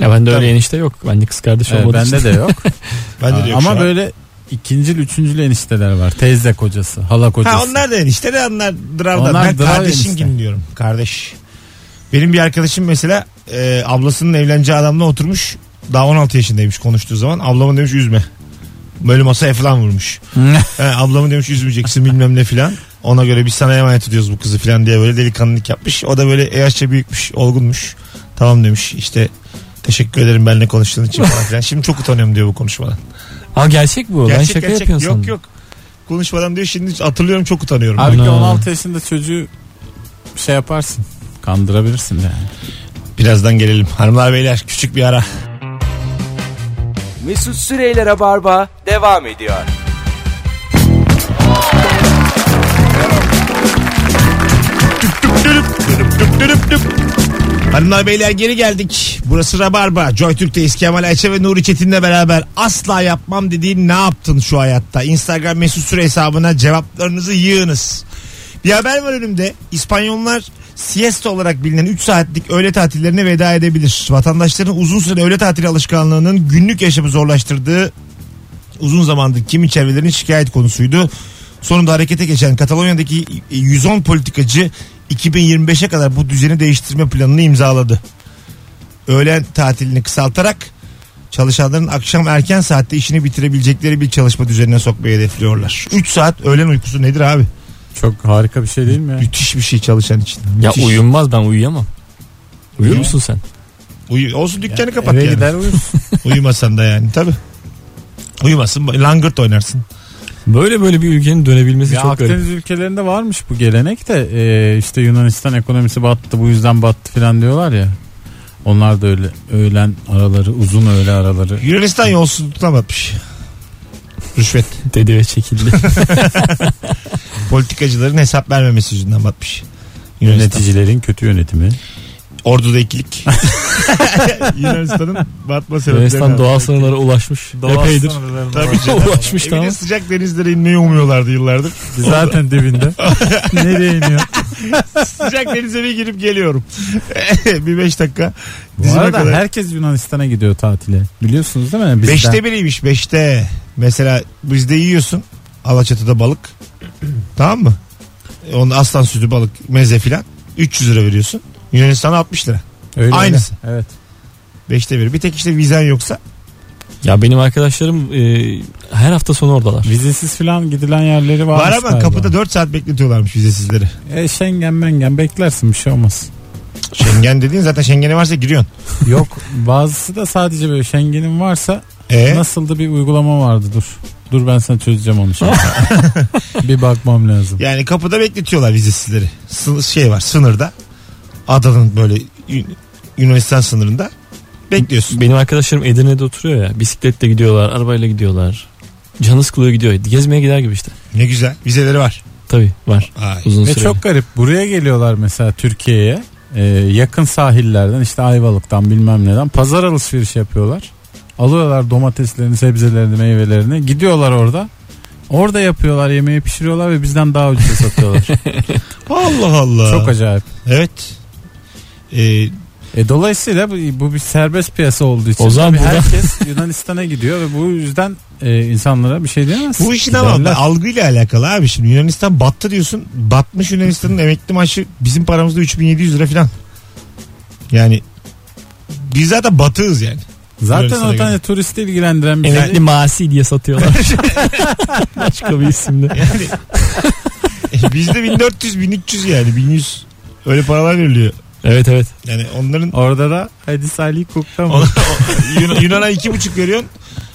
Speaker 4: Ya bende öyle
Speaker 2: Tabii.
Speaker 4: enişte yok. Bende kız kardeş
Speaker 3: Ee,
Speaker 4: olmadı.
Speaker 3: bende de [laughs] yok.
Speaker 2: Ben de diyorum
Speaker 3: ama böyle ikincil, üçüncül enişteler var. Teyze kocası, hala kocası.
Speaker 2: Ha onlar da enişte de onlar dravda.
Speaker 3: Onlar
Speaker 2: ben
Speaker 3: drav
Speaker 2: kardeşim
Speaker 3: enişte.
Speaker 2: gibi diyorum. Kardeş. Benim bir arkadaşım mesela e, ablasının evleneceği adamla oturmuş. Daha 16 yaşındaymış konuştuğu zaman. Ablamın demiş üzme. Böyle masaya falan vurmuş. He, ablamın demiş üzmeyeceksin bilmem ne filan. Ona göre biz sana emanet ediyoruz bu kızı filan diye böyle delikanlılık yapmış. O da böyle e, yaşça büyükmüş, olgunmuş. Tamam demiş işte teşekkür ederim benimle konuştuğun için falan filan. Şimdi çok utanıyorum diyor bu konuşmadan.
Speaker 4: Ha gerçek bu. ben şaka yapıyorsun.
Speaker 2: Yok yok. Konuşmadan diyor şimdi hatırlıyorum çok utanıyorum. [laughs]
Speaker 3: [laughs] Abi
Speaker 4: Ana.
Speaker 3: 16 yaşında çocuğu şey yaparsın. Kandırabilirsin yani.
Speaker 2: Birazdan gelelim. Hanımlar beyler küçük bir ara.
Speaker 1: Mesut Süreyler'e barba devam ediyor.
Speaker 2: Dürüp, dürüp, dürüp, dürüp, dürüp. Hanımlar beyler geri geldik. Burası Rabarba. Joy Türk'teyiz. Kemal Ayça ve Nuri Çetin'le beraber asla yapmam dediğin ne yaptın şu hayatta? Instagram mesut süre hesabına cevaplarınızı yığınız. Bir haber var önümde. İspanyollar siesta olarak bilinen 3 saatlik öğle tatillerine veda edebilir. Vatandaşların uzun süre öğle tatili alışkanlığının günlük yaşamı zorlaştırdığı uzun zamandır kimi çevrelerin şikayet konusuydu. Sonunda harekete geçen Katalonya'daki 110 politikacı 2025'e kadar bu düzeni değiştirme planını imzaladı. Öğlen tatilini kısaltarak çalışanların akşam erken saatte işini bitirebilecekleri bir çalışma düzenine sokmayı hedefliyorlar. 3 saat öğlen uykusu nedir abi?
Speaker 3: Çok harika bir şey değil mi? ya?
Speaker 2: Müthiş bir şey çalışan için.
Speaker 4: Ya
Speaker 2: Müthiş.
Speaker 4: uyunmaz ben uyuyamam. Uyuyor
Speaker 2: Uyuyor.
Speaker 4: musun sen?
Speaker 2: Uyu- olsun dükkanı kapat
Speaker 3: Eve
Speaker 2: yani.
Speaker 3: gider uyursun.
Speaker 2: [laughs] Uyumasan da yani tabi. Uyumasın langırt oynarsın.
Speaker 4: Böyle böyle bir ülkenin dönebilmesi
Speaker 3: ya
Speaker 4: çok garip.
Speaker 3: Akdeniz ülkelerinde varmış bu gelenek de e, işte Yunanistan ekonomisi battı bu yüzden battı falan diyorlar ya. Onlar da öyle öğlen araları uzun öğle araları.
Speaker 2: Yunanistan yolsuzluktan batmış. Rüşvet.
Speaker 4: Dedi ve çekildi.
Speaker 2: Politikacıların hesap vermemesi yüzünden batmış. [laughs] Yunanistan.
Speaker 3: Yöneticilerin kötü yönetimi.
Speaker 2: Ordu'da ikilik. [laughs] Yunanistan'ın batma sebepleri.
Speaker 4: Yunanistan doğal sınırlara ulaşmış. Epeydir.
Speaker 2: Tabii canım.
Speaker 4: Ulaşmış
Speaker 2: Evine
Speaker 4: tamam.
Speaker 2: sıcak denizlere inmeyi umuyorlardı yıllardır. [laughs]
Speaker 3: Zaten dibinde. Nereye iniyor?
Speaker 2: sıcak denize bir girip geliyorum. [laughs] bir beş dakika.
Speaker 3: Bu
Speaker 2: Dizime
Speaker 3: arada
Speaker 2: kadar.
Speaker 3: herkes Yunanistan'a gidiyor tatile. Biliyorsunuz değil mi? Bizden.
Speaker 2: Beşte biriymiş beşte. Mesela bizde yiyorsun Alaçatı'da balık. [clears throat] tamam mı? E, Onun aslan sütü balık meze filan. 300 lira veriyorsun. Yunanistan'a 60 lira.
Speaker 3: Öyle
Speaker 2: Aynısı.
Speaker 3: öyle. Evet.
Speaker 2: Beşte bir. Bir tek işte vizen yoksa.
Speaker 4: Ya benim arkadaşlarım e, her hafta sonu oradalar.
Speaker 3: Vizesiz falan gidilen yerleri var.
Speaker 2: Var ama kapıda 4 saat bekletiyorlarmış vizesizleri.
Speaker 3: E, Schengen mengen beklersin bir
Speaker 2: [laughs]
Speaker 3: şey olmaz.
Speaker 2: Şengen dediğin zaten Şengen'e varsa giriyorsun.
Speaker 3: Yok bazısı da sadece böyle Schengen'in varsa
Speaker 2: E,
Speaker 3: nasıldı bir uygulama vardı dur. Dur ben sana çözeceğim
Speaker 2: [laughs]
Speaker 3: onu şimdi. bir bakmam lazım.
Speaker 2: yani kapıda bekletiyorlar vizesizleri. Sın- şey var sınırda. Adanın böyle Yun- Yunanistan sınırında. Bekliyorsun.
Speaker 4: Benim arkadaşlarım Edirne'de oturuyor ya. Bisikletle gidiyorlar, arabayla gidiyorlar. Canı sıkılıyor gidiyor. Gezmeye gider gibi işte.
Speaker 2: Ne güzel. Vizeleri var.
Speaker 4: Tabii var.
Speaker 2: Ay.
Speaker 4: Uzun
Speaker 3: Ve
Speaker 4: süre.
Speaker 3: çok garip buraya geliyorlar mesela Türkiye'ye Ee, yakın sahillerden işte Ayvalık'tan bilmem neden pazar alışveriş yapıyorlar. Alıyorlar domateslerini sebzelerini meyvelerini gidiyorlar orada. Orada yapıyorlar yemeği pişiriyorlar ve bizden daha ucuza satıyorlar.
Speaker 2: Allah Allah.
Speaker 3: Çok acayip.
Speaker 2: Evet. Ee,
Speaker 3: E, dolayısıyla bu, bu bir serbest piyasa olduğu için
Speaker 4: O zaman
Speaker 3: tabii
Speaker 4: burada-
Speaker 3: herkes [laughs] Yunanistan'a gidiyor ve bu yüzden e, insanlara bir şey diyemezsin.
Speaker 2: bu işin ama
Speaker 3: Giderler.
Speaker 2: algıyla alakalı abi şimdi Yunanistan battı diyorsun. Batmış Yunanistan'ın emekli maaşı bizim paramızda 3700 lira falan. Yani biz zaten batığız yani.
Speaker 3: Zaten
Speaker 2: Yunanistan'a
Speaker 3: o tane
Speaker 2: göre.
Speaker 3: turisti ilgilendiren bir şey.
Speaker 4: Emekli masi diye satıyorlar. Başka bir isimle.
Speaker 2: Yani e, [laughs] bizde 1400 1300 yani 1100 öyle paralar veriliyor.
Speaker 4: Evet evet. [laughs]
Speaker 2: Yani onların
Speaker 3: Orada da Hadi Salih Kuk'ta mı?
Speaker 2: Ona- Yun- Yunan'a iki buçuk veriyorsun.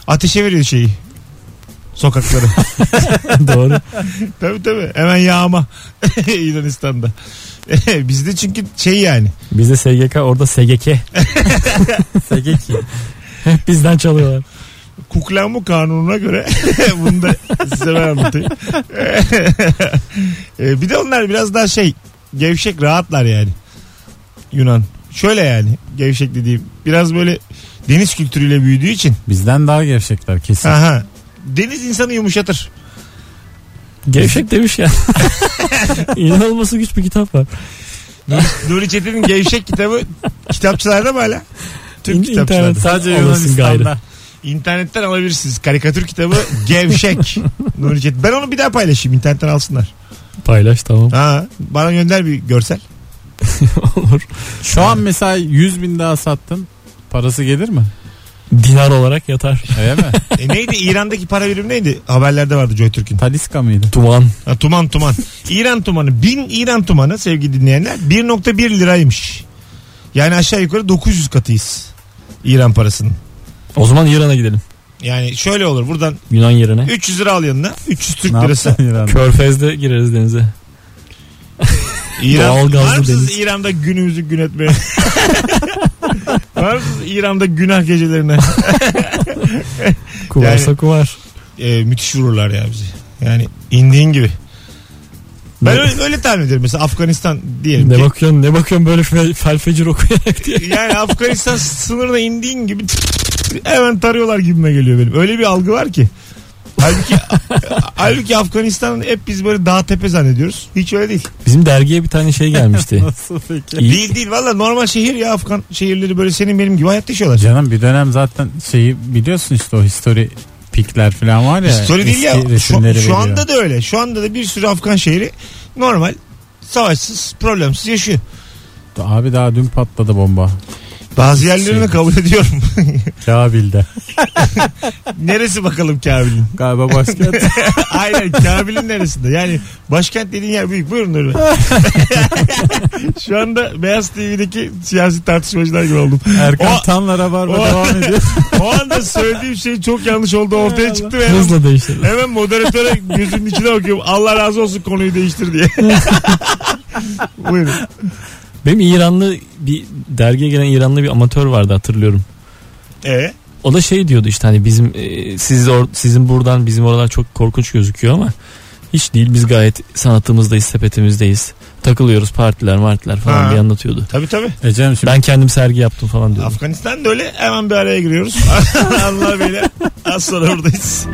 Speaker 2: Ateşe veriyor şeyi. Sokakları. [laughs]
Speaker 4: Doğru.
Speaker 2: tabii tabii. Hemen yağma. [laughs] Yunanistan'da. [laughs] Bizde çünkü şey yani.
Speaker 4: Bizde SGK orada SGK. SGK. Hep bizden çalıyorlar.
Speaker 2: kuklanma kanununa göre [laughs] bunu da size ben anlatayım. [laughs] Ee, bir de onlar biraz daha şey gevşek rahatlar yani. Yunan. Şöyle yani gevşek dediğim biraz böyle deniz kültürüyle büyüdüğü için.
Speaker 3: Bizden daha gevşekler kesin.
Speaker 2: Aha. Deniz insanı yumuşatır.
Speaker 4: Gevşek demiş ya. İnanılması güç bir kitap var.
Speaker 2: Nuri Çetin'in gevşek kitabı kitapçılarda mı hala? Tüm
Speaker 4: İn-
Speaker 2: kitapçılarda.
Speaker 4: internet.
Speaker 3: Sadece
Speaker 4: Olasın gayrı.
Speaker 3: Yunanistan'da.
Speaker 2: İnternetten alabilirsiniz. Karikatür kitabı Gevşek. Nuri Çetin. Ben onu bir daha paylaşayım. İnternetten alsınlar.
Speaker 4: Paylaş tamam.
Speaker 2: Ha, bana gönder bir görsel.
Speaker 4: Olur.
Speaker 3: Şu an mesela 100 bin daha sattın. Parası gelir mi?
Speaker 4: Dinar olarak yatar.
Speaker 3: Öyle [laughs] mi?
Speaker 2: E neydi İran'daki para birimi neydi? Haberlerde vardı Joytürk'ün.
Speaker 3: Taliska mıydı?
Speaker 4: Duman.
Speaker 2: Ha, tuman tuman. İran tumanı. Bin İran tumanı sevgili dinleyenler 1.1 liraymış. Yani aşağı yukarı 900 katıyız. İran parasının.
Speaker 4: O zaman İran'a gidelim.
Speaker 2: Yani şöyle olur buradan
Speaker 4: Yunan yerine.
Speaker 2: 300 lira al yanına 300 Türk
Speaker 3: Ne
Speaker 2: lirası.
Speaker 3: [laughs] yapacaksın İran'da?
Speaker 4: Körfez'de gireriz denize.
Speaker 2: İran,
Speaker 4: Doğal gazlı
Speaker 2: var mısınız
Speaker 4: deniz.
Speaker 2: İran'da günümüzü gün etmeye? [laughs] var mısınız İran'da günah gecelerine?
Speaker 4: Kuvarsa kuvar.
Speaker 2: Ee, müthiş vururlar ya bizi. Yani indiğin gibi. Ben öyle, öyle tahmin ediyorum. Mesela Afganistan diyelim
Speaker 4: Ne
Speaker 2: ki.
Speaker 4: bakıyorsun ne bakıyorsun böyle fe- felfecir okuyarak [laughs] diye.
Speaker 2: [laughs] yani Afganistan sınırına indiğin gibi hemen tarıyorlar gibime geliyor benim. Öyle bir algı var ki.
Speaker 3: [laughs]
Speaker 2: Halbuki, halbuki Afganistan'ın hep biz böyle dağ tepe zannediyoruz. Hiç öyle değil.
Speaker 4: Bizim dergiye bir tane şey gelmişti.
Speaker 3: Nasıl peki?
Speaker 4: İyi.
Speaker 2: Değil değil valla normal şehir ya Afgan şehirleri böyle senin benim gibi hayat yaşıyorlar.
Speaker 3: Canım bir dönem zaten şeyi biliyorsun işte o history pikler falan var ya.
Speaker 2: Story değil ya.
Speaker 3: eski
Speaker 2: Şu,
Speaker 3: resimleri
Speaker 2: şu
Speaker 3: veriyor.
Speaker 2: anda da öyle. Şu anda da bir sürü Afgan şehri normal savaşsız problemsiz yaşıyor.
Speaker 3: Abi daha dün patladı bomba.
Speaker 2: Bazı yerlerini
Speaker 3: Şey-
Speaker 2: kabul ediyorum.
Speaker 3: Kabil'de. [laughs]
Speaker 2: Neresi bakalım Kabil'in?
Speaker 3: Galiba başka
Speaker 2: Aynen Kabil'in neresinde? Yani başkent dediğin yer büyük. Buyurun Nuri. [laughs] Şu anda Beyaz TV'deki siyasi tartışmacılar gibi oldum.
Speaker 3: [laughs] Erkan
Speaker 2: O-
Speaker 3: Tan'la Rabarba
Speaker 2: o-
Speaker 3: devam ediyor.
Speaker 2: O anda söylediğim şey çok yanlış oldu ortaya çıktı ve hemen,
Speaker 4: [laughs] Hızla değiştirdim.
Speaker 2: hemen moderatöre gözünün içine bakıyorum. Allah razı olsun konuyu değiştir diye. [laughs] Buyurun.
Speaker 4: Benim İranlı bir dergiye gelen İranlı bir amatör vardı hatırlıyorum.
Speaker 2: Ee,
Speaker 4: O da şey diyordu işte hani bizim e, siz or- sizin buradan bizim oralar çok korkunç gözüküyor ama hiç değil biz gayet sanatımızdayız, sepetimizdeyiz. Takılıyoruz partiler, martiler falan
Speaker 2: Ha.
Speaker 4: diye anlatıyordu.
Speaker 2: Tabii tabii.
Speaker 3: Ecem E şimdi
Speaker 4: Ben kendim sergi yaptım falan diyordu.
Speaker 2: [laughs] Afganistan da öyle. Hemen bir araya giriyoruz. Allah beyler. Az sonra buradayız.